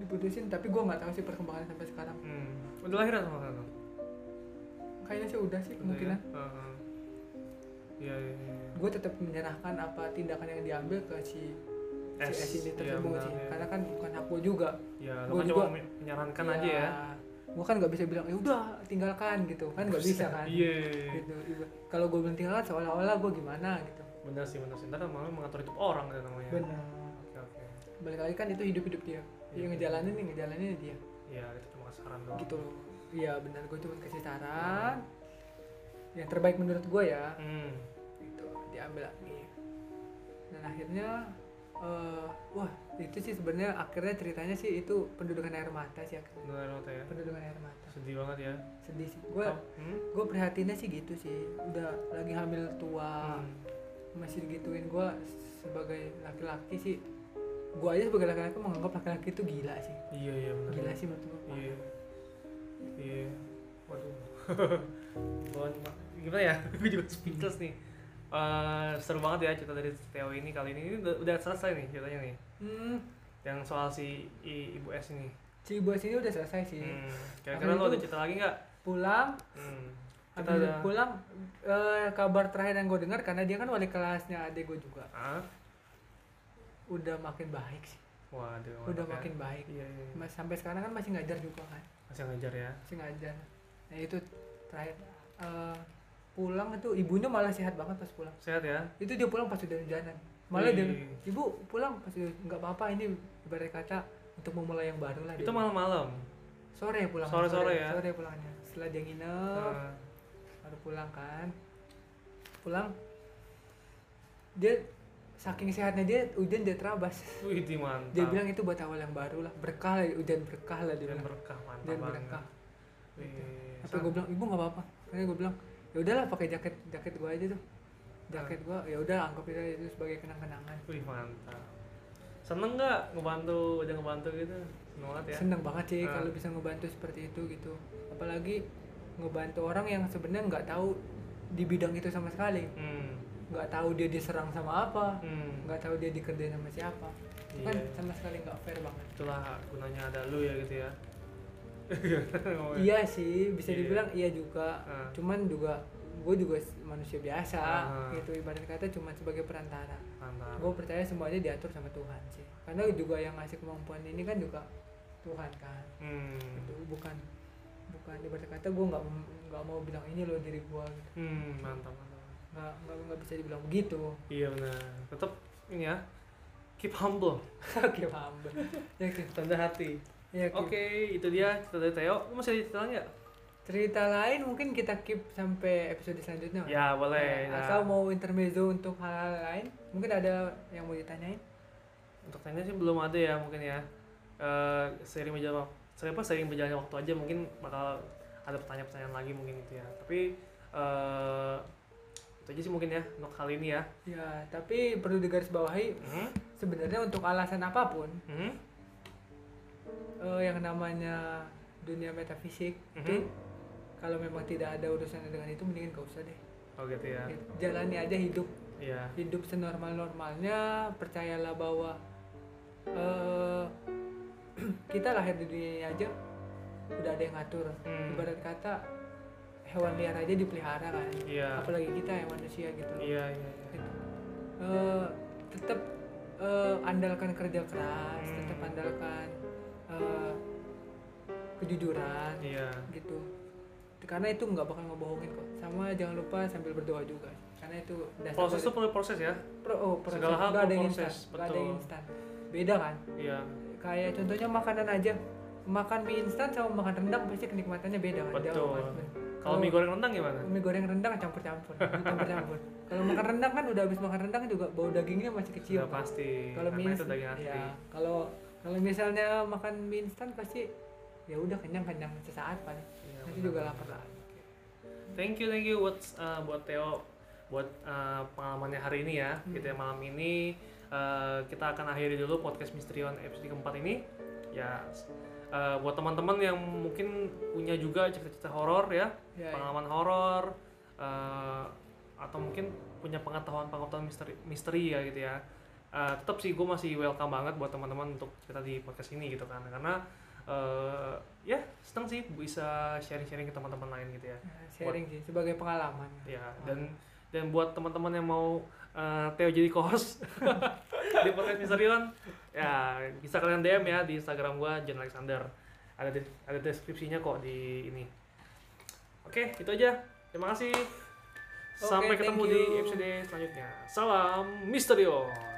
diputusin tapi gua nggak tahu sih perkembangannya sampai sekarang
hmm. udah lahiran sama kakak
kayaknya sih udah sih
Udah
kemungkinan
ya? Ha, ha. iya iya iya
Gua tetap menyerahkan apa tindakan yang diambil ke si si
S,
S ini
iya,
tersebut
benar,
sih
iya.
karena kan bukan aku juga
ya lu
Gua
kan cuma
juga- Iya.
me- menyarankan aja ya
gua kan nggak bisa bilang ya udah tinggalkan gitu kan nggak bisa kan
iya
gitu Iba- kalau gue belum tinggalkan seolah-olah gua gimana gitu
benar sih benar sih ntar kan malah mengatur hidup orang gitu namanya
benar
oke oke
balik lagi kan itu hidup hidup dia
Iya.
yang ngejalanin yang ngejalanin dia
ya itu cuma saran doang
gitu loh iya benar gue cuma kasih saran yang terbaik menurut gue ya
hmm.
itu diambil lagi dan akhirnya eh, wah itu sih sebenarnya akhirnya ceritanya sih itu pendudukan air mata sih akhirnya
benar banget ya
pendudukan air mata
sedih banget ya
sedih sih gue
Kam- hmm?
gue prihatinnya sih gitu sih udah lagi hamil tua
Hmm.
masih digituin gue sebagai laki-laki sih gue aja sebagai laki-laki menganggap laki-laki itu gila sih
iya iya benar
gila sih menurut gue
iya iya waduh Bon, gimana ya gue juga speechless nih Eh, seru banget ya cerita dari Theo ini kali ini ini udah, udah selesai nih ceritanya nih
hmm,
yang soal si I- ibu S ini
si buas ini udah selesai sih
hmm. kira-kira
Iya. Apa
lo
itu?
ada cerita lagi nggak
pulang
hmm. kita
habis
ada
pulang eh, kabar terakhir yang gue dengar karena dia kan wali kelasnya adik gue juga
ah
udah makin baik sih
waduh mantap
udah
ya.
makin baik
iya, iya. iya.
Mas, sampai sekarang kan masih ngajar juga kan
masih ngajar ya
masih ngajar nah itu terakhir eh, pulang itu ibunya malah sehat banget pas pulang
sehat ya
itu dia pulang pas udah hujanan malah dia
Wih.
ibu pulang pas udah nggak apa-apa ini ibarat kata untuk memulai yang baru lah
itu
dia bilang.
malam-malam
sore pulang
Sore-sore ya?
sore pulangnya setelah dia nginep
Ah,
baru pulang kan pulang dia saking sehatnya dia hujan dia terabas
wih di mantap
dia bilang itu buat awal yang baru lah berkah lah hujan berkah lah dia
dan
bilang
berkah mantap
hujan
banget
berkah
Wih,
apa gue bilang ibu nggak apa-apa karena gue bilang ya udahlah pakai jaket jaket gue aja tuh jaket gue ya udah anggap itu aja itu sebagai kenang-kenangan
Wih mantap. Seneng nggak ngebantu, udah ngebantu gitu? Seneng banget ya.
seneng banget sih
Ah.
kalau bisa ngebantu seperti itu gitu apalagi ngebantu orang yang sebenarnya nggak tahu di bidang itu sama sekali
Hmm.
nggak tahu dia diserang sama apa
Hmm.
nggak tahu dia dikerjain sama siapa Itu kan
Iya.
sama sekali nggak fair banget
Itulah gunanya ada lu ya gitu ya. Ngomongin.
iya sih
Oh,
bisa
Iya.
dibilang iya juga
Ah.
cuman juga gue juga s- manusia biasa
Ah.
gitu ibarat kata cuma sebagai perantara
Mantap.
gue percaya semuanya diatur sama Tuhan sih karena juga yang ngasih kemampuan ini kan juga Tuhan kan
Hmm.
itu bukan bukan ibarat kata gue nggak m- nggak mau bilang ini loh diri gue gitu.
Hmm, mantap mantap.
nggak nggak nggak bisa dibilang begitu
Iya benar. Tetap ini ya. Keep humble.
oke paham Bang. ya Kim.
Tanda hati.
ya Kim.
Oke, itu dia cerita dari Theo. Lu masih ada cerita lain nggak?
cerita lain mungkin kita keep sampai episode selanjutnya Mas.
Ya boleh.
Ya,
Nah,
Atau mau intermezzo untuk hal-hal lain? Mungkin ada yang mau ditanyain?
untuk tanya sih belum ada ya mungkin ya. Eh sering berjalan saya apa sering berjalannya waktu aja mungkin bakal ada pertanyaan-pertanyaan lagi mungkin gitu ya. Tapi eh itu aja sih mungkin ya untuk kali ini ya.
Ya, tapi perlu digarisbawahi
Hmm?
sebenarnya untuk alasan apapun
Hmm?
eh, yang namanya dunia metafisik itu
Mhm.
kalau memang tidak ada urusannya dengan itu mendingan gak usah deh.
Oh gitu ya.
Jalani aja hidup
Iya.
hidup senormal-normalnya percayalah bahwa eh, kita lahir di dunia ini aja udah ada yang ngatur
Hmm.
ibarat kata hewan liar aja dipelihara kan
Iya.
apalagi kita yang manusia gitu
Iya, iya, iya.
Eh, tetap eh, andalkan kerja keras
Hmm.
tetap andalkan eh, kejujuran
Iya.
gitu karena itu nggak bakal ngebohongin kok sama jangan lupa sambil berdoa juga karena itu dasar
Proses
dari-
itu perlu proses ya.
Pro- oh, proses.
Segala hal
Nggak ada
perlu
yang
proses,
instan nggak ada yang
betul.
instan beda kan
Iya.
kayak contohnya makanan aja makan mie instan sama makan rendang pasti kenikmatannya beda kan
Betul.
kan?
Kalau mie goreng rendang gimana?
mie goreng rendang campur-campur campur-campur kalau makan rendang kan udah habis makan rendang juga bau dagingnya masih kecil
Sudah
kan?
pasti.
kalau mie
Karena itu
instan-
daging asli.
ya, kalau kalau misalnya makan mie instan pasti ya udah kenyang kenyang sesaat paling
Iya,
nanti
benar.
juga lapar lagi
Thank you, thank you buat uh, buat Theo buat uh, pengalamannya hari ini ya.
Hmm.
Gitu ya malam ini uh, kita akan akhiri dulu podcast Misterion episode keempat ini. Ya uh, buat teman-teman yang mungkin punya juga cerita-cerita horor ya,
Ya, ya.
pengalaman horor uh, atau mungkin punya pengetahuan-pengetahuan misteri misteri ya gitu ya. Uh, tetap sih gue masih welcome banget buat teman-teman untuk cerita di podcast ini gitu kan karena uh, ya seneng sih bisa sharing-sharing ke teman-teman lain gitu ya
Nah, sharing sih sebagai pengalaman
ya dan dan buat teman-teman yang mau eh, Theo jadi co-host di podcast Misterion ya bisa kalian DM ya di Instagram gua John Alexander ada de- ada deskripsinya kok di ini oke itu aja terima kasih sampai
Oke, thank
ketemu di
you.
episode selanjutnya salam Misterion